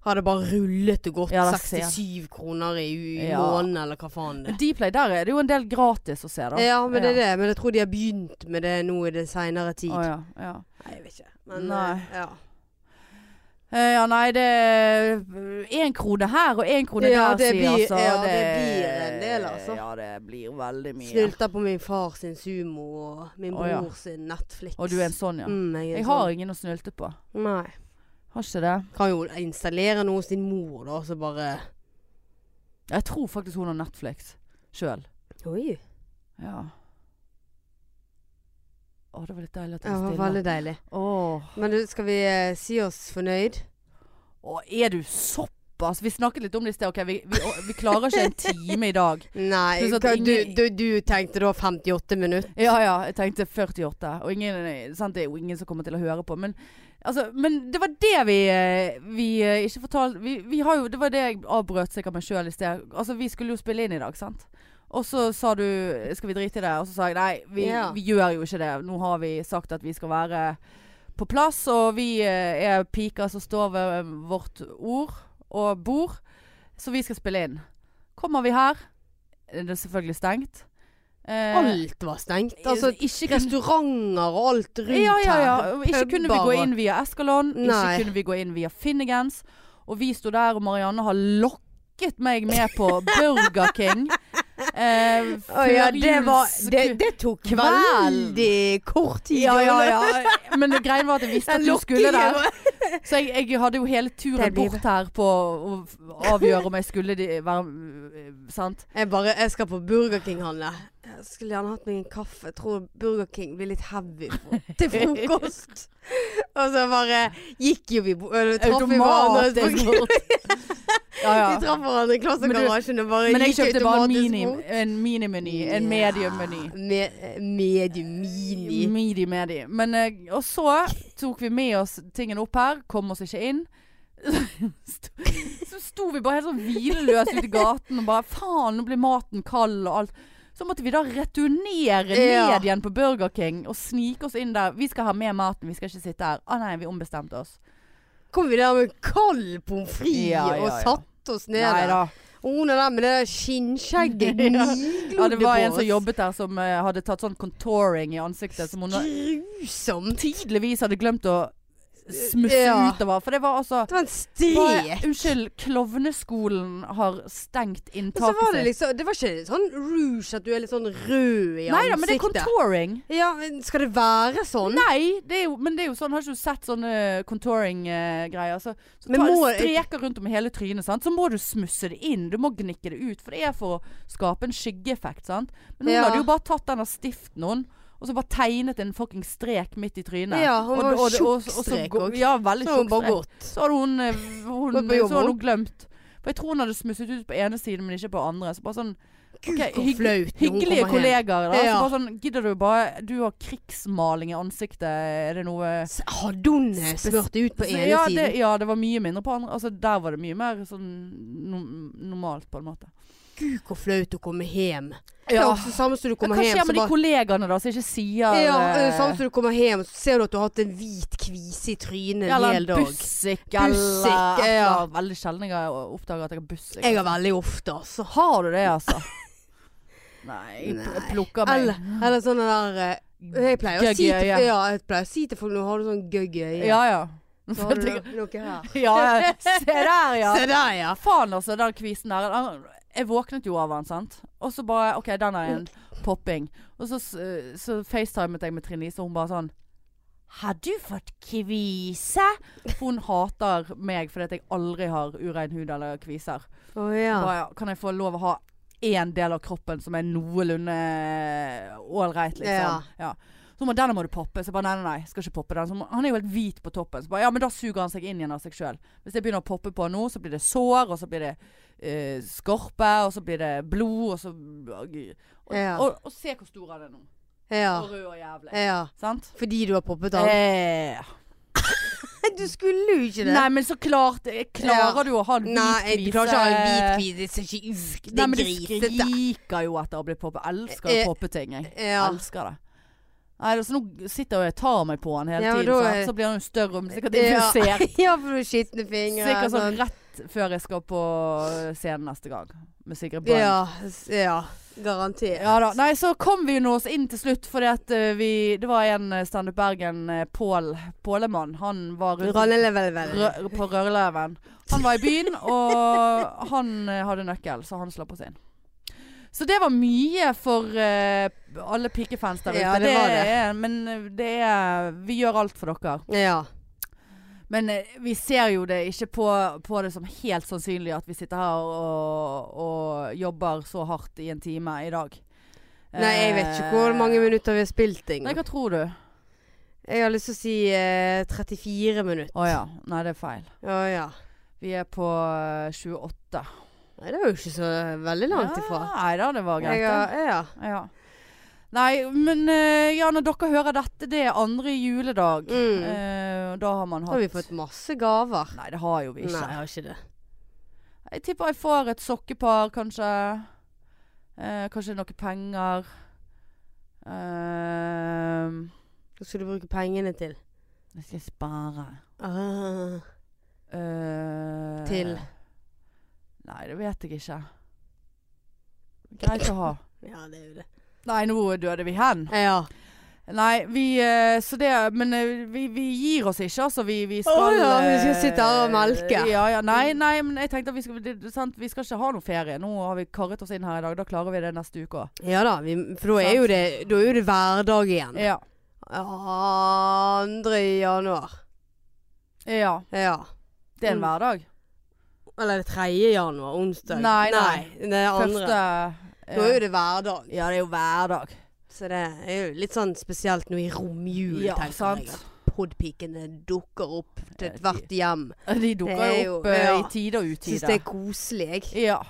B: har det bare rullet og gått
A: Ja, da ser jeg.
B: 67 kroner i u-
A: Ja.
B: måneden, eller hva faen det er.
A: Dplay, der er det jo en del gratis å se, da.
B: Ja, men det er det. Men jeg tror de har begynt med det nå i den seinere tid.
A: Å, ja, ja.
B: Nei, jeg vet ikke. Men
A: Nei.
B: eh, ja.
A: Eh, ja, nei, det er én krone her og én krone
B: Ja,
A: der,
B: det
A: sier
B: blir-
A: altså.
B: ja, det blir en del, altså.
A: Ja, det blir veldig mye.
B: Snylter på min far sin sumo og min
A: Å, ja.
B: bror sin Netflix.
A: Og du er en sånn, ja.
B: Mm, jeg, er en
A: Jeg
B: sånn.
A: har ingen å snylte på.
B: Nei.
A: Har ikke det.
B: Kan jo installere noe hos din mor, da, og så bare
A: Jeg tror faktisk hun har Netflix sjøl.
B: Oi.
A: Ja. Å, det var litt deilig at
B: Ja,
A: du var stille.
B: veldig deilig.
A: Åh.
B: Men du, skal vi eh, si oss fornøyd?
A: Å, er du såpass? Vi snakket litt om det i sted. Ok, vi, vi, å, vi klarer ikke en time i dag.
B: Nei,
A: Pluss at
B: hva-
A: ingen-
B: du, du, du tenkte da 58 minutter?
A: Ja ja, jeg tenkte 48. Og ingen, sant, det er jo ingen som kommer til å høre på. Men, altså, men det var det vi, eh, vi eh, ikke fortalte vi, vi har jo, Det var det jeg avbrøt sikkert meg sjøl i sted. Altså, vi skulle jo spille inn i dag, sant. Og så sa du 'skal vi drite i det', og så sa jeg nei, vi,
B: Ja.
A: vi gjør jo ikke det. Nå har vi sagt at vi skal være på plass, og vi eh, er piker som står ved eh, vårt ord og bord. Så vi skal spille inn. Kommer vi her, det er selvfølgelig stengt. Eh,
B: Alt var stengt. Altså,
A: ikke kunne-
B: restauranter og alt rundt
A: ja, ja, ja.
B: her.
A: Og Ikke kunne vi
B: Puber
A: gå
B: og-
A: inn via Escalon,
B: Nei.
A: ikke kunne vi gå inn via Finnegans. Og vi sto der, og Marianne har lokket meg med på Burger King. Eh,
B: Å ja, det var
A: førjuls-
B: Det, det tok
A: kvelden.
B: veldig kort tid.
A: ja, ja,
B: å-
A: ja. Men greien var at jeg visste at du
B: lokkingen
A: skulle der.
B: var-
A: Så jeg, jeg hadde jo hele
B: Det
A: turen
B: blir
A: bort her på å avgjøre om jeg skulle de, være eh, Sant?
B: Jeg bare Jeg skal på Burger King handle. Jeg skulle gjerne hatt meg en kaffe. Jeg tror Burger King blir litt heavy for, til frokost. og så bare gikk jo vi bo- eller traff vi hverandre.
A: Automatisk bort. Ja, ja.
B: Vi traff hverandre i
A: Men du-
B: klassegarasjen og bare
A: Men jeg
B: gikk
A: kjøpte bare
B: automatisk
A: mini,
B: bort.
A: en minimeny. En medium-meny. Mm.
B: Me- Medium-mini.
A: Midi medi. Men, eh, og så tok vi med oss tingene opp her, kom oss ikke inn. Sto- Så sto vi bare helt sånn hvileløse ute i gaten og bare faen, nå blir maten kald og alt. Så måtte vi da returnere
B: Ja.
A: ned igjen på Burger King og snike oss inn der. Vi skal ha med maten, vi skal ikke sitte her. Å nei, vi ombestemte oss.
B: Kom vi der med kald pommes frites
A: Ja, ja,
B: og
A: ja.
B: satte oss ned
A: Nei
B: der.
A: da.
B: Og hun er der med det der skinnskjegget
A: Ja. Ja,
B: gniglodde
A: det var en
B: på
A: som
B: oss.
A: jobbet der som eh, hadde tatt sånn contouring i ansiktet som hun
B: Grusomt.
A: tydeligvis hadde glemt å smusse
B: Ja.
A: utover. For det var altså
B: Det var en
A: Hva-
B: strek.
A: Unnskyld, klovneskolen har stengt
B: Og så
A: inntaket
B: var det liksom Det var ikke sånn rouge at du er litt sånn rød i ansiktet. Mm.
A: Nei da, men det er contouring.
B: Ja, men skal det være sånn?
A: Nei, det er jo, men det er jo sånn, har ikke du sett sånne contouring-greier? så så
B: Men
A: ta,
B: må-
A: streker rundt om i hele trynet, sant? så må du smusse det inn. Du må gnikke det ut, for det er for å skape en skyggeeffekt. Sant? Men hun
B: Ja.
A: hadde jo bare tatt den av stiften, hun. Og så bare tegnet en fucking strek midt i trynet.
B: Ja, hun var
A: det-
B: tjukk
A: så
B: strek
A: gå-
B: også.
A: Ja, veldig
B: Så har hun
A: tjukk
B: bare
A: strek.
B: gått.
A: Så hadde hun, eh, hun,
B: Gått på jobb,
A: så hadde
B: hun.
A: hun glemt. For jeg tror hun hadde smusset ut på ene siden, men ikke på andre. Så bare sånn
B: Gud,
A: Ok,
B: hvor
A: hygg-
B: flaut. når hun
A: Hyggelige
B: kommer hjem.
A: kollegaer. Da.
B: Ja.
A: Så bare sånn, gidder du bare Du har krigsmaling i ansiktet. Er det noe
B: S- Hadde hun eh,
A: Spes-
B: smurt det ut på
A: Så
B: ene
A: ja,
B: siden?
A: Det, ja, det var mye mindre på andre. Altså, der var det mye mer sånn no normalt, på en måte.
B: Gud, hvor flaut å komme hjem. Det er også det samme som du
A: Men
B: kommer
A: hva
B: hjem
A: skjer med
B: så
A: de
B: bare-
A: kollegaene da, som ikke sier
B: ja,
A: eh,
B: eh, samme som du kommer hjem, så ser du at du har hatt en hvit kvise i trynet en
A: Eller
B: hel dag.
A: bussik, eller
B: Bussik,
A: et eller
B: ja.
A: annet. Veldig sjelden jeg oppdager at jeg har liksom. bussik.
B: Jeg har veldig ofte, altså.
A: Har du det, altså? Nei, jeg pl-
B: Nei.
A: plukker meg.
B: Eller, eller sånne der eh, Jeg pleier å si
A: Gøgg i
B: til,
A: øyet.
B: ja, jeg pleier å si til folk Nå har du sånn gøgg i øyet.
A: Ja, ja.
B: Så har du no- noe her.
A: ja, ja. Se der, ja.
B: Se der, ja.
A: Faen altså, den kvisen der han- Jeg våknet jo av han, sant Og så bare, ok, den er en popping Og så, s- så facetimet jeg med Trine Lise Og hun bare sånn Har du fått kvise? For Hun hater meg fordi at jeg aldri har urein hud eller kviser
B: Å ja.
A: bare, Kan jeg få lov å ha en del av kroppen Som er noenlunde ålreit liksom ja. Så hun bare, denne må du poppe Så jeg bare, nei, nei, nei, skal ikke poppe den så, hun- Han er jo helt hvit på toppen Så jeg bare, ja, men da suger han seg inn igjen av seg selv Hvis jeg begynner å poppe på han nå, så blir det sår Og så blir det eh, skorpe Og så blir det blod Og, så, og, og,
B: Ja.
A: og, og se hvor stor han er nå
B: ja. Eh,
A: Og rød og jævlig
B: ja.
A: Sant?
B: Fordi du har poppet av?
A: Eh,
B: Du skulle jo ikke det.
A: nei, men så klart eh, Klarer
B: Ja.
A: du å ha en hvit
B: Nei, jeg klarer ikke å ha en hvit
A: kvise?
B: kvise. Det ser ikke ut. Det
A: Nei,
B: er
A: men det
B: grisete.
A: skriker jo etter å bli poppet. Elsker
B: Eh,
A: å poppe ting, jeg.
B: Ja.
A: Elsker det. Nei, altså nå sitter jeg og tar meg på han hele
B: Ja, men
A: tiden,
B: da
A: sant?
B: er-
A: så blir han jo større og sikkert
B: Ja.
A: infisert.
B: ja, for du har skitne fingre.
A: Sikkert sånn
B: sånn.
A: rett før jeg skal på eh, scenen neste gang. Med Sigrid Bang.
B: Ja, s- ja. Garantert.
A: Ja da. Nei, så kom vi jo nå oss inn til slutt, fordi at eh, vi Det var en eh, Standup Bergen, eh, Pål Pålemann, han var rundt
B: Rannelevelvel.
A: rø på Rørleven. Han var i byen, og han eh, hadde nøkkel, så han slapp oss inn. Så det var mye for eh, alle pikefans der ute.
B: Ja, det var det.
A: er- men eh, det er Vi gjør alt for dere.
B: Ja.
A: Men eh, vi ser jo det ikke på, på det som helt sannsynlig at vi sitter her og, og jobber så hardt i en time i dag. Eh,
B: Nei, jeg vet ikke hvor mange minutter vi har spilt ting.
A: Nei, hva tror du?
B: Jeg har lyst til å si eh, 34 minutter.
A: Å ja. Nei, det er feil.
B: Å ja.
A: Vi er på eh, 28.
B: Nei, det er jo ikke så eh, veldig langt ifra.
A: Ja, nei da, det var greit. det.
B: Jeg har, ja.
A: Ja. Nei, men eh, ja, når dere hører dette, det er andre juledag.
B: Mm.
A: Eh, da har man
B: Da
A: hatt
B: har vi fått masse gaver.
A: Nei, det har jo vi ikke.
B: Nei, jeg har ikke det.
A: Jeg tipper jeg får et sokkepar, kanskje. Eh, kanskje noe penger. Ehm,
B: Hva skal du bruke pengene til?
A: jeg skal spare.
B: Ah,
A: Eh,
B: til
A: Nei, det vet jeg ikke. Greit å ha.
B: Ja, det er jo det.
A: Nei, nå døde vi hen.
B: Eh, Ja.
A: Nei, vi eh, Så det Men eh, vi, vi gir oss ikke, altså. Vi, vi skal
B: Å ja, vi skal
A: eh,
B: sitte her og melke.
A: Ja, ja. Nei, nei, men jeg tenkte at vi skal det, det- sant? Vi skal ikke ha noe ferie. Nå har vi karret oss inn her i dag. Da klarer vi det neste uke òg.
B: ja da, vi, for da er jo det, da er jo det hverdag igjen.
A: Ja.
B: Ja, 2. januar.
A: ja.
B: Ja.
A: Det er en
B: Mm.
A: hverdag.
B: Eller er det 3. januar, onsdag.
A: Nei,
B: Det er andre.
A: Første
B: Da er jo det hverdag.
A: Ja, det er jo hverdag.
B: Så det er jo litt sånn spesielt nå i romjulen,
A: Ja,
B: tenker
A: sant.
B: jeg. at prodpikene dukker opp til
A: Ja, de-
B: ethvert hjem.
A: De dukker
B: er
A: jo opp
B: jo-
A: eh,
B: ja.
A: i tide og
B: Syns det
A: utide.
B: er koselig, jeg.
A: Ja.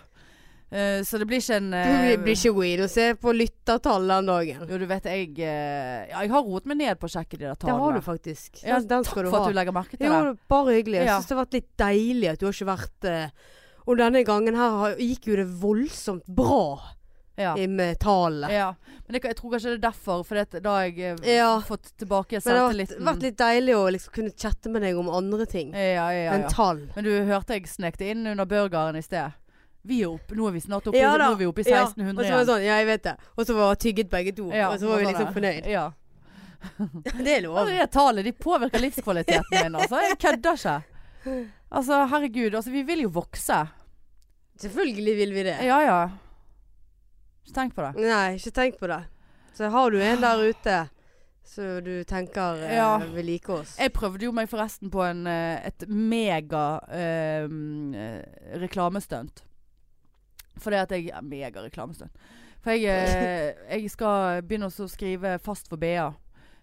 A: Eh, så det blir ikke en
B: Du
A: eh,
B: blir ikke weed å se på lyttertallet den dagen.
A: Jo, du vet jeg eh, Ja, jeg har roet meg ned på å sjekke de der
B: Det
A: tallene.
B: har du faktisk.
A: Ja,
B: Den, den skal du
A: for
B: ha.
A: at du legger merke til
B: Jo,
A: det.
B: det er bare hyggelig. Jeg
A: Ja.
B: syns det har vært litt deilig at du har ikke vært eh, Og denne gangen her har- gikk jo det voldsomt bra
A: Ja.
B: i- med tallene.
A: ja. Men jeg, jeg tror kanskje det er derfor, for det, da har jeg eh,
B: Ja.
A: fått tilbake
B: Men det har vært,
A: selvtilliten.
B: vært litt deilig å liksom kunne chatte med deg om andre ting
A: ja, ja, ja,
B: enn
A: ja.
B: tall.
A: Men du hørte jeg snek det inn under burgeren i sted. Vi er opp, nå er vi snart oppe,
B: Ja da.
A: nå er vi oppe i
B: Ja,
A: 1600
B: Og så var det sånn, ja, jeg vet det. Og så var tygget begge to.
A: Ja,
B: og så var vi
A: sånn
B: liksom
A: er
B: fornøyd.
A: Ja.
B: Det er lov.
A: Altså, det tallet de påvirker livskvaliteten min. Altså. Jeg kødder ikke. Altså, herregud. Altså, vi vil jo vokse.
B: Selvfølgelig vil vi det.
A: Ja ja. Så tenk på det.
B: Nei, ikke tenk på det. Så har du en der ute som du tenker eh,
A: Ja.
B: vil like oss.
A: Jeg prøvde jo meg forresten på en, eh, et mega eh, eh, reklamestunt. Fordi at jeg ja, Mega reklamestunt. For jeg, eh, jeg skal begynne å skrive fast for BA.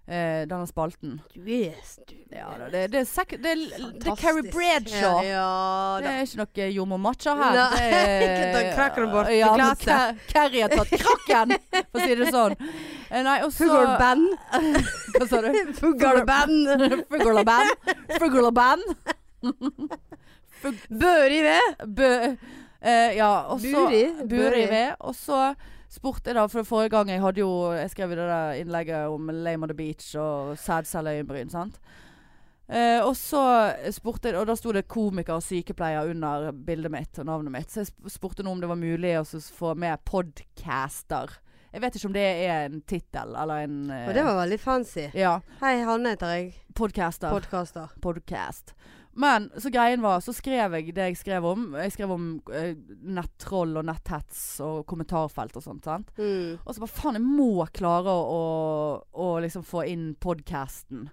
A: eh, denne spalten.
B: Du er du
A: Ja,
B: er
A: da, det, det, er sek det, er- det er
B: fantastisk.
A: Carrie Bradshaw.
B: Ja, ja
A: Det
B: da.
A: er ikke noe jordmor matcha her.
B: Nei,
A: Det er-
B: da krakker hun bort
A: ja,
B: glasset.
A: Ker- Carrie har tatt krakken, for å si det sånn. Eh, Nei, og så
B: Fugl band.
A: Hva sa du?
B: Fugl band.
A: Fugl og band. Fugl og band.
B: Bør i ved.
A: Bø eh, Ja, og så
B: Buri?
A: Buri
B: Buri.
A: ved. Og så spurte jeg da, for forrige gang jeg hadde jo Jeg skrev jo det der innlegget om Lame on the Beach og sædcelleøyenbryn, sant. Eh, og så spurte jeg, og da sto det komiker og sykepleier under bildet mitt og navnet mitt. Så jeg sp- spurte nå om det var mulig å så få med podcaster. Jeg vet ikke om det er en tittel eller en eh,
B: Og det var veldig fancy.
A: Ja.
B: Hei, Hanne heter jeg.
A: Podcaster
B: Podkaster.
A: podcast. Men så greien var, så skrev jeg det jeg skrev om. Jeg skrev om eh, nettroll og netthets og kommentarfelt og sånt. sant?
B: Mm.
A: Og så bare faen, jeg må klare å, å, å liksom få inn podcasten.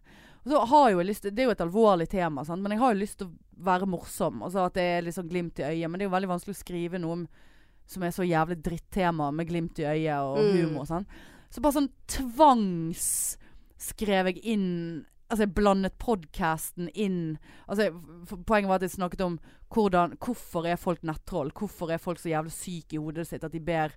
A: Og så har jo jeg lyst, Det er jo et alvorlig tema, sant? men jeg har jo lyst til å være morsom. Altså At det er litt sånn glimt i øyet. Men det er jo veldig vanskelig å skrive noe om, som er så jævlig drittema med glimt i øyet og
B: Mm.
A: humor. Sant? Så bare sånn tvangs skrev jeg inn Altså jeg blandet podcasten inn altså, jeg- f- Poenget var at jeg snakket om hvordan, hvorfor er folk nettroll? Hvorfor er folk så jævlig syke i hodet sitt at de ber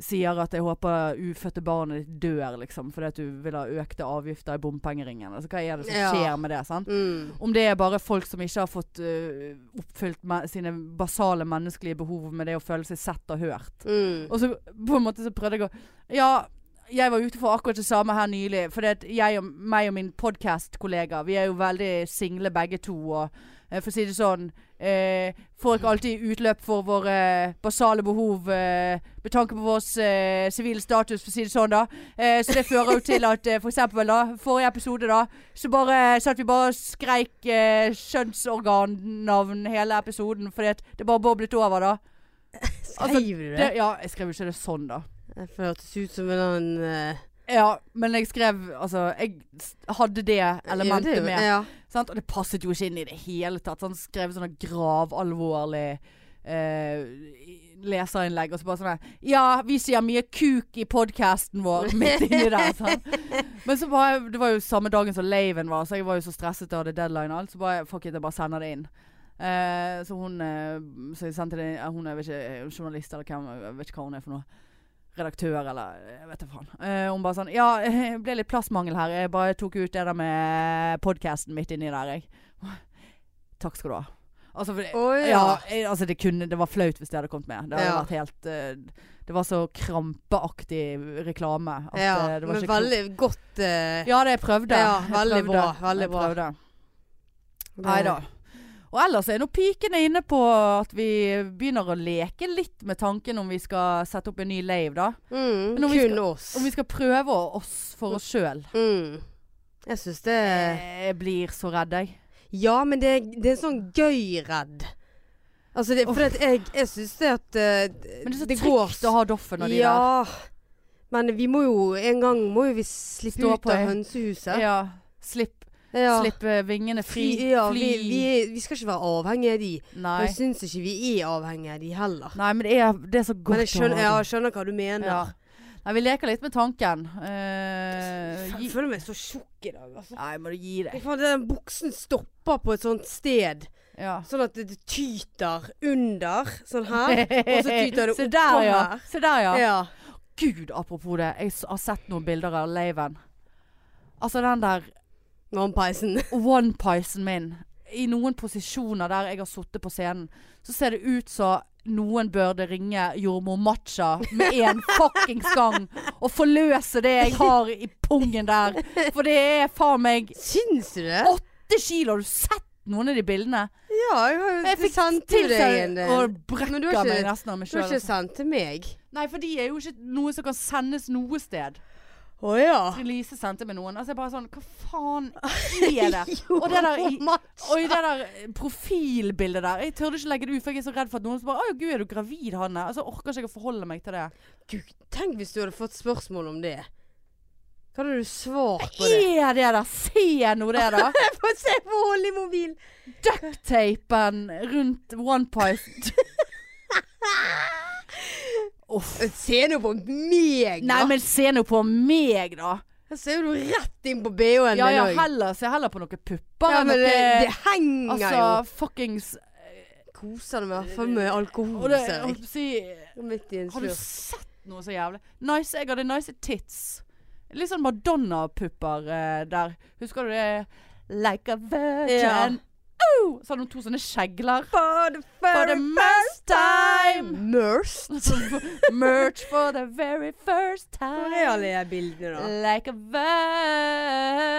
A: Sier at jeg håper ufødte barnet ditt dør, liksom, fordi at du vil ha økte avgifter i bompengeringen. Altså, hva er det som
B: Ja.
A: skjer med det? sant?
B: Mm.
A: Om det er bare folk som ikke har fått øh, oppfylt me sine basale menneskelige behov med det å føle seg sett og hørt.
B: Mm.
A: Og så på en måte så prøvde jeg å Ja, jeg var ute for akkurat det samme her nylig. For det at jeg og meg og min podkastkollega, vi er jo veldig single begge to. Og eh, for å si det sånn eh, Får ikke alltid utløp for våre eh, basale behov eh, med tanke på vår eh, sivile status, for å si det sånn, da. Eh, så det fører jo til at eh, for eksempel, da, forrige episode, da, så bare satt vi bare og skreik eh, kjønnsorgannavn hele episoden fordi at det bare boblet over, da.
B: Skriver du Altså, det?
A: Det, ja, jeg skrev jo ikke det sånn, da.
B: Det føltes ut som en annen eh,
A: Ja, men jeg skrev Altså, jeg s- hadde det
B: ja, det
A: elementet
B: er jo-
A: med.
B: Ja.
A: Sant? Og det passet jo ikke inn i det hele tatt. Så han skrev sånne gravalvorlig eh, leserinnlegg, og så bare sånn her, Ja, vi sier mye kuk i podkasten vår midt inni der. sant? Men så var jeg, det var jo samme dagen som laven var, så jeg var jo så stresset og hadde deadline og alt. Så bare fuck it, jeg bare sender det inn. Eh, så hun eh, Så jeg sendte det inn eh, Hun er vel ikke eh, journalist eller hvem, jeg vet ikke hva hun er for noe. Redaktør eller eh, jeg vet da faen. Eh, hun bare sånn Ja, det ble litt plassmangel her. Jeg bare tok ut det der med podkasten midt inni der, jeg. Takk skal du ha. Altså, for det,
B: Å, ja.
A: ja, jeg, altså det, kunne, det var flaut hvis det hadde kommet med. Det hadde
B: Ja.
A: vært helt eh, Det var så krampeaktig reklame. At, eh,
B: ja.
A: det var
B: Men
A: ikke klokt.
B: veldig godt eh,
A: Ja, det jeg prøvde.
B: Ja,
A: Jeg
B: veldig
A: prøvde.
B: bra, veldig
A: Jeg
B: bra.
A: prøvde. Nei da. Og ellers er nå pikene inne på at vi begynner å leke litt med tanken om vi skal sette opp en ny lave, da.
B: Mm,
A: Men om
B: kun
A: vi skal-
B: oss.
A: Om vi skal prøve å- oss for oss sjøl.
B: mm. Jeg syns det Eh.
A: Jeg blir så redd, jeg.
B: Ja, men det, det er sånn gøy-redd. Altså, det, for at jeg, jeg syns det at eh,
A: Men det er så
B: går
A: trygt å ha Doffen og de der.
B: Ja. Men vi må jo en gang må jo vi slippe
A: Stå
B: ut
A: på
B: av
A: ei-
B: hønsehuset.
A: Ja. Slipp,
B: Ja.
A: slipp eh, vingene fri.
B: Ja,
A: fly.
B: vi, vi, er- vi skal ikke være avhengige av de. Og
A: Nei.
B: jeg syns ikke vi er avhengige av de heller.
A: Nei, men det er, det er så godt
B: men jeg skjønner,
A: å
B: ja,
A: ha
B: jeg skjønner hva du
A: det.
B: mener.
A: Ja. Nei, vi leker litt med tanken. Eh,
B: Jeg
A: gi,
B: føler meg så tjukk i dag, altså.
A: nei, må du gi deg.
B: Faen, den buksen stopper på et sånt sted,
A: Ja.
B: sånn at det tyter under, sånn her. Og så tyter det
A: Se
B: opp
A: der,
B: på
A: ja.
B: her.
A: Se der, ja.
B: Ja.
A: Gud, apropos det. Jeg s- har sett noen bilder av laven. Altså den der
B: Vannpeisen.
A: onepiecen min. I noen posisjoner der jeg har sittet på scenen, så ser det ut som noen burde ringe jordmor Matcha med en fuckings gang og forløse det jeg har i pungen der. For det er faen meg
B: Syns du det?
A: åtte kilo! Har du sett noen av de bildene?
B: Ja, jeg har
A: Jeg fikk
B: sendt
A: til
B: deg en
A: seg
B: del.
A: og
B: Men du
A: brekker
B: har ikke-
A: meg nesten av meg altså.
B: Du har
A: sjøl.
B: ikke sendt til meg.
A: Nei, for de er jo ikke noe som kan sendes noe sted.
B: Å ja.
A: Lise sendte meg noen. Altså jeg bare sånn Hva faen er det? Og det der i- Og i det der profilbildet der Jeg tørde ikke legge det ut, for jeg er så redd for at noen som bare Å gud, er du gravid, Hanne? Altså orker ikke jeg å forholde meg til det.
B: Gud, tenk hvis du hadde fått spørsmål om det. Hva hadde du svart på det?
A: Er det der? Se nå det, da.
B: Jeg får se på hold i mobil.
A: Duckteipen rundt one piece. Uff.
B: Eh, Se nå på meg, da.
A: Nei, men se nå på meg, da.
B: Her ser jo du rett inn på BH-en
A: Ja,
B: min
A: ja,
B: òg.
A: heller se heller på noen pupper
B: Ja,
A: enn
B: men eh, det, det
A: noe
B: henger
A: Altså, fuckings
B: jo. Koser deg med i hvert fall med
A: Og
B: alkohol,
A: det,
B: ser
A: jeg
B: jeg.
A: holdt på å si
B: Midt i en
A: Har du
B: slurk.
A: sett noe så jævlig? Nice, jeg hadde nice tits. Litt sånn Madonna-pupper eh, der. Husker du det? Like a virgin.
B: Ja.
A: Oh! Så hadde hun to sånne skjegler. For the first time!
B: Mørst.
A: Merch for the very first
B: Hvor
A: time.
B: er alle de bildene, da?
A: Like a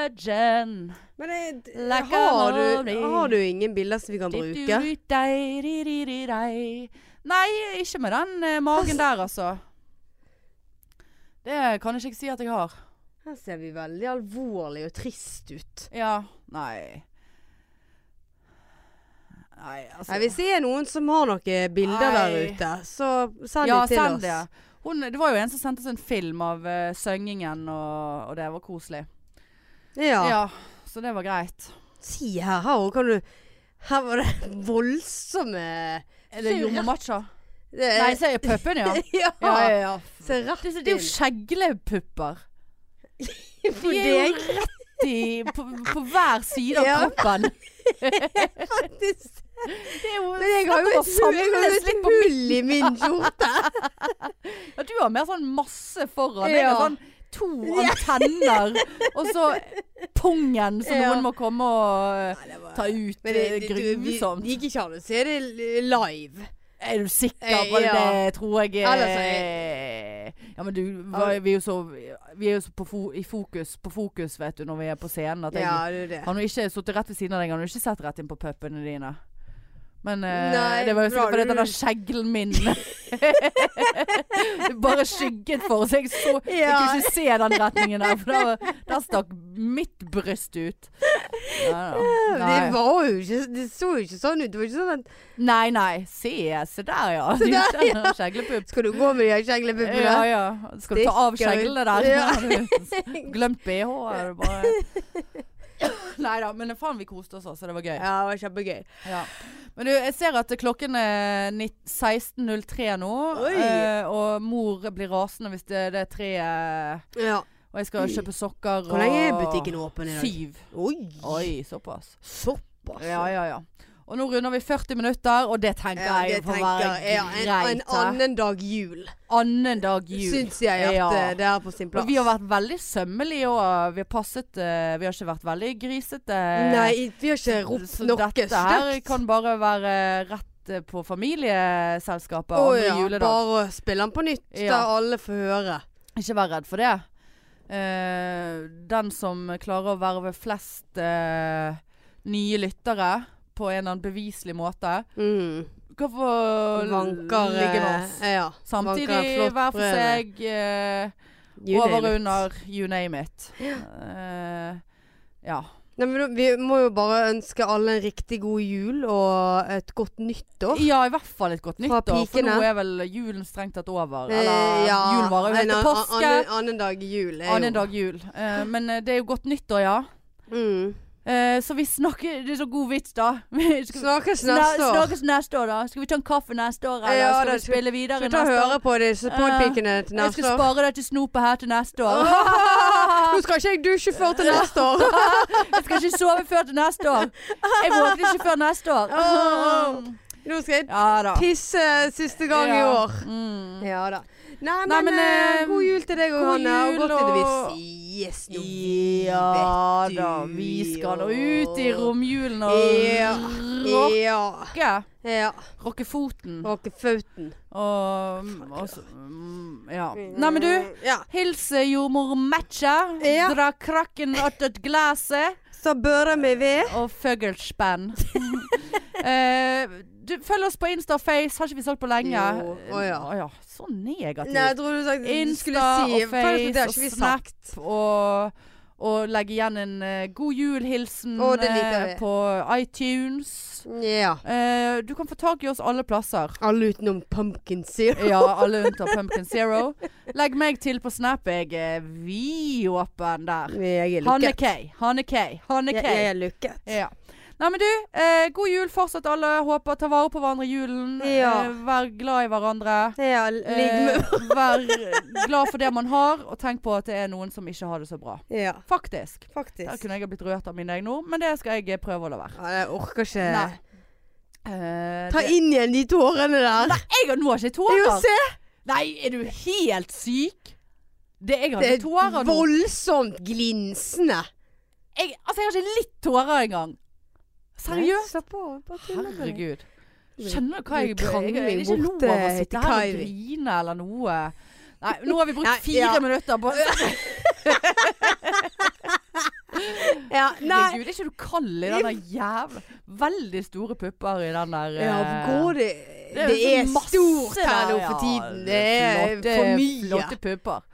A: virgin.
B: Men jeg,
A: Like
B: har,
A: a
B: du,
A: honey.
B: har du ingen bilder som vi kan bruke?
A: Di-du-di-dei, di-di-di-dei. Nei, ikke med den eh, magen der, altså. Det kan ikke jeg si at jeg har.
B: Her ser vi veldig alvorlig og trist ut.
A: Ja, nei Nei, altså
B: Nei, hvis det er noen som har noen bilder der
A: Nei.
B: ute, så send
A: Ja,
B: de til
A: send
B: oss.
A: det. Hun, det var jo en som sendte oss en film av eh, søngingen, og, og det var koselig.
B: Ja.
A: Ja. Så det var greit.
B: Si her, her også kan du Her var det voldsomme
A: Er det
B: Se
A: Jomo
B: rett-
A: Matcha?
B: det,
A: Nei, se puppen, ja.
B: ja.
A: Ja, ja, ja.
B: Se rett
A: Det, det er jo skjeglepupper.
B: på
A: De er
B: deg,
A: jo rett i på, på hver side av
B: Ja.
A: kroppen.
B: faktisk.
A: Det er jo
B: Men jeg har jo
A: snakk om å
B: et hull, jeg har jo
A: samles litt
B: et
A: på
B: hull i min skjorte.
A: Ja, du har mer sånn masse foran. Jeg
B: Ja.
A: har sånn to antenner, og så pungen som
B: Ja.
A: noen må komme og eh, ta ut.
B: Men det, det,
A: eh,
B: du, vi-
A: grusomt.
B: det gikk ikke an å se det live.
A: er du sikker
B: Eh,
A: på det?
B: ja.
A: Det tror jeg
B: Ellers er
A: er Ja, men du, hva- vi er jo så, vi er jo så på, fo i fokus, på fokus, vet du, når vi er på scenen. At jeg
B: Ja, det er jo det.
A: har nå ikke sittet rett ved siden av deg, har nå ikke sett rett inn på puppene dine. Men eh,
B: Nei,
A: det var jo
B: bra,
A: sikkert fordi
B: du-
A: den der skjeglen min Det bare skygget for, så jeg så
B: Ja.
A: Jeg kunne ikke se den retningen der, for der, der stakk mitt bryst ut. Ja, ja.
B: Det
A: Nei.
B: var jo ikke Det så jo ikke sånn ut. Det var ikke sånn at
A: nei, nei. Se, se der, ja.
B: Se der,
A: Du kjenner Skjeglepupp.
B: Skal du gå med de her skjeglepuppene?
A: Ja, ja. Skal du ta av
B: Stikker ut.
A: skjeglene der?
B: Ja.
A: Har du Glemt bh? Er det bare Nei da, men faen vi koste oss, altså. Det var gøy.
B: ja, det var kjempegøy.
A: Ja. Men du, jeg ser at klokken er nitt- 16.03 nå.
B: Oi.
A: eh, Og mor blir rasende hvis det, det er treet
B: Ja.
A: Og jeg skal kjøpe sokker og
B: Hvor lenge er butikken åpen i dag?
A: Syv.
B: Oi!
A: Oi, såpass.
B: Såpass.
A: Ja, ja, ja. Og nå runder vi 40 minutter, og det tenker
B: Ja, det
A: jeg får være
B: tenker jeg. En, en
A: greit. Annen,
B: annen dag jul,
A: annen dag jul.
B: syns jeg at
A: Ja.
B: eh, det er på sin plass.
A: Og vi har vært veldig sømmelige og vi har passet eh, Vi har ikke vært veldig grisete.
B: Nei, vi har ikke ropt
A: eh, Så
B: noe
A: dette her
B: stygt.
A: kan bare være rett eh, på familieselskapet
B: Å
A: andre
B: ja,
A: juledag.
B: bare å spille den på nytt, da
A: Ja.
B: alle får høre.
A: Ikke vær redd for det. Eh, den som klarer å verve flest eh, nye lyttere på en eller annen beviselig måte,
B: Mm.
A: kan få
B: Vanker
A: ligge med oss.
B: eh, Ja. vanker
A: Samtidig
B: flott
A: hver for
B: brød.
A: seg. eh,
B: You name
A: over og
B: it.
A: under. You name it. Eh, ja.
B: Nei, men da- vi må jo bare ønske alle en riktig god jul og et godt nyttår.
A: ja, i hvert fall et godt
B: Fra
A: nyttår. For nå
B: pikene.
A: er vel julen strengt tatt over.
B: Eh,
A: Eller
B: ja,
A: jul varer jo helt
B: en
A: til
B: an-
A: påske.
B: Annen, annen dag jul er jo
A: Annen dag jul. Eh, men eh, det er jo godt nyttår, ja.
B: Mm.
A: Eh, så vi snakker Det er så god vits, da. Vi- skal vi-
B: Snakkes
A: Sna-
B: neste år.
A: Snakkes neste år, da. Skal vi ta en kaffe neste år, eller
B: Ja,
A: skal
B: da,
A: vi
B: skal-
A: spille videre
B: Skal vi
A: neste
B: ta og
A: år? Eh,
B: høre på disse podpikene til
A: Jeg skal
B: neste år?
A: spare deg til snopet her til neste år.
B: Nå skal ikke jeg dusje før til neste år.
A: Jeg skal ikke sove før til neste år. Jeg våkner ikke før neste år.
B: Åh. Nå skal jeg
A: Ja da.
B: tisse siste Oh, gang i
A: Ja.
B: år.
A: Mm.
B: Ja da. Nei, men,
A: Nei, men,
B: eh,
A: eh,
B: god jul til deg og
A: god
B: Hanne. Og
A: jul,
B: godt til det
A: og-
B: vi sies nå.
A: Ja
B: vet
A: da.
B: du
A: Vi skal nå
B: jo.
A: ut i romjulen og
B: Ja.
A: rocke.
B: Ja. ja.
A: Rocke foten. Og,
B: Råke fauten.
A: og så mm, Ja. Nei, men du.
B: Ja.
A: Hils eh, jordmor Matcha.
B: Ja.
A: Dra krakken attåt glasset.
B: Så børre meg ved.
A: Og fuglespenn. Eh, du, følg oss på Insta og Face. Har ikke vi sagt på lenge?
B: Jo, å ja.
A: Å ja, Så negativt.
B: Nei, jeg trodde du sa du
A: Insta
B: skulle
A: og
B: si for Det
A: Face
B: har
A: og
B: ikke vi
A: Snap.
B: sagt.
A: og, og legge igjen en eh, god jul-hilsen
B: Å, det liker
A: eh,
B: vi.
A: på iTunes.
B: Ja.
A: Eh, du kan få tak i oss alle plasser.
B: Alle utenom pumpkin syrup.
A: Ja, alle unntatt Pumpkin Zero. Legg meg til på Snap. Jeg er vidåpen der.
B: Jeg er
A: Hanne
B: lukket.
A: K. Hanne K. Hanne
B: Jeg,
A: K.
B: jeg er lukket.
A: Ja. Nei, men du, eh, god jul fortsatt, alle. Håper ta vare på hverandre i julen.
B: Ja.
A: Eh, vær glad i hverandre.
B: Ja, ligg med
A: Eh, vær glad for det man har, og tenk på at det er noen som ikke har det så bra.
B: eh, Ja,
A: Faktisk.
B: faktisk.
A: Der kunne jeg ha blitt rørt av mine egne ord, men det skal jeg eh, prøve å la være.
B: Ja, jeg orker ikke
A: Nei. Eh,
B: Ta
A: det-
B: inn igjen de tårene der.
A: Nei, jeg har nå ikke
B: Jo,
A: tårer!
B: se!
A: Nei, er du helt syk? Det, jeg har
B: Det
A: ikke
B: er
A: tårer nå.
B: voldsomt glinsende.
A: Jeg, altså, jeg har ikke litt tårer engang. Seriøst?
B: Slapp av. Bare tuller med deg.
A: Herregud. Skjønner du hva jeg Jeg,
B: Det er
A: jeg,
B: krangling
A: er ikke lov
B: borte
A: å sitte
B: til
A: her og
B: Kaivi.
A: grine eller noe. Nei, nå har vi
B: Nei,
A: brukt fire
B: ja.
A: minutter på
B: Ja, nei.
A: Herregud, er ikke du kald i den der jævla Veldig store pupper i den der
B: Ja,
A: eh,
B: går det
A: det er
B: Det
A: jo så
B: er
A: masse
B: stort her nå
A: der,
B: for
A: ja.
B: tiden. Det er
A: Flotte-
B: for mye.
A: Flotte pupper.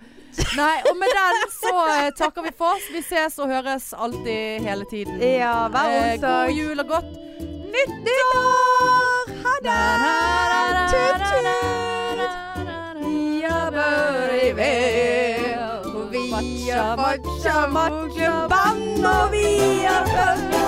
A: Nei, og med den så eh, takker vi for oss. Vi ses og høres alltid hele tiden.
B: Ja, hver
A: Eh,
B: onsdag.
A: God jul og godt
B: Nyttår! Ha det! Tut, tut! Vi har vært i vær, og vi har fått så mye vann, og vi har fått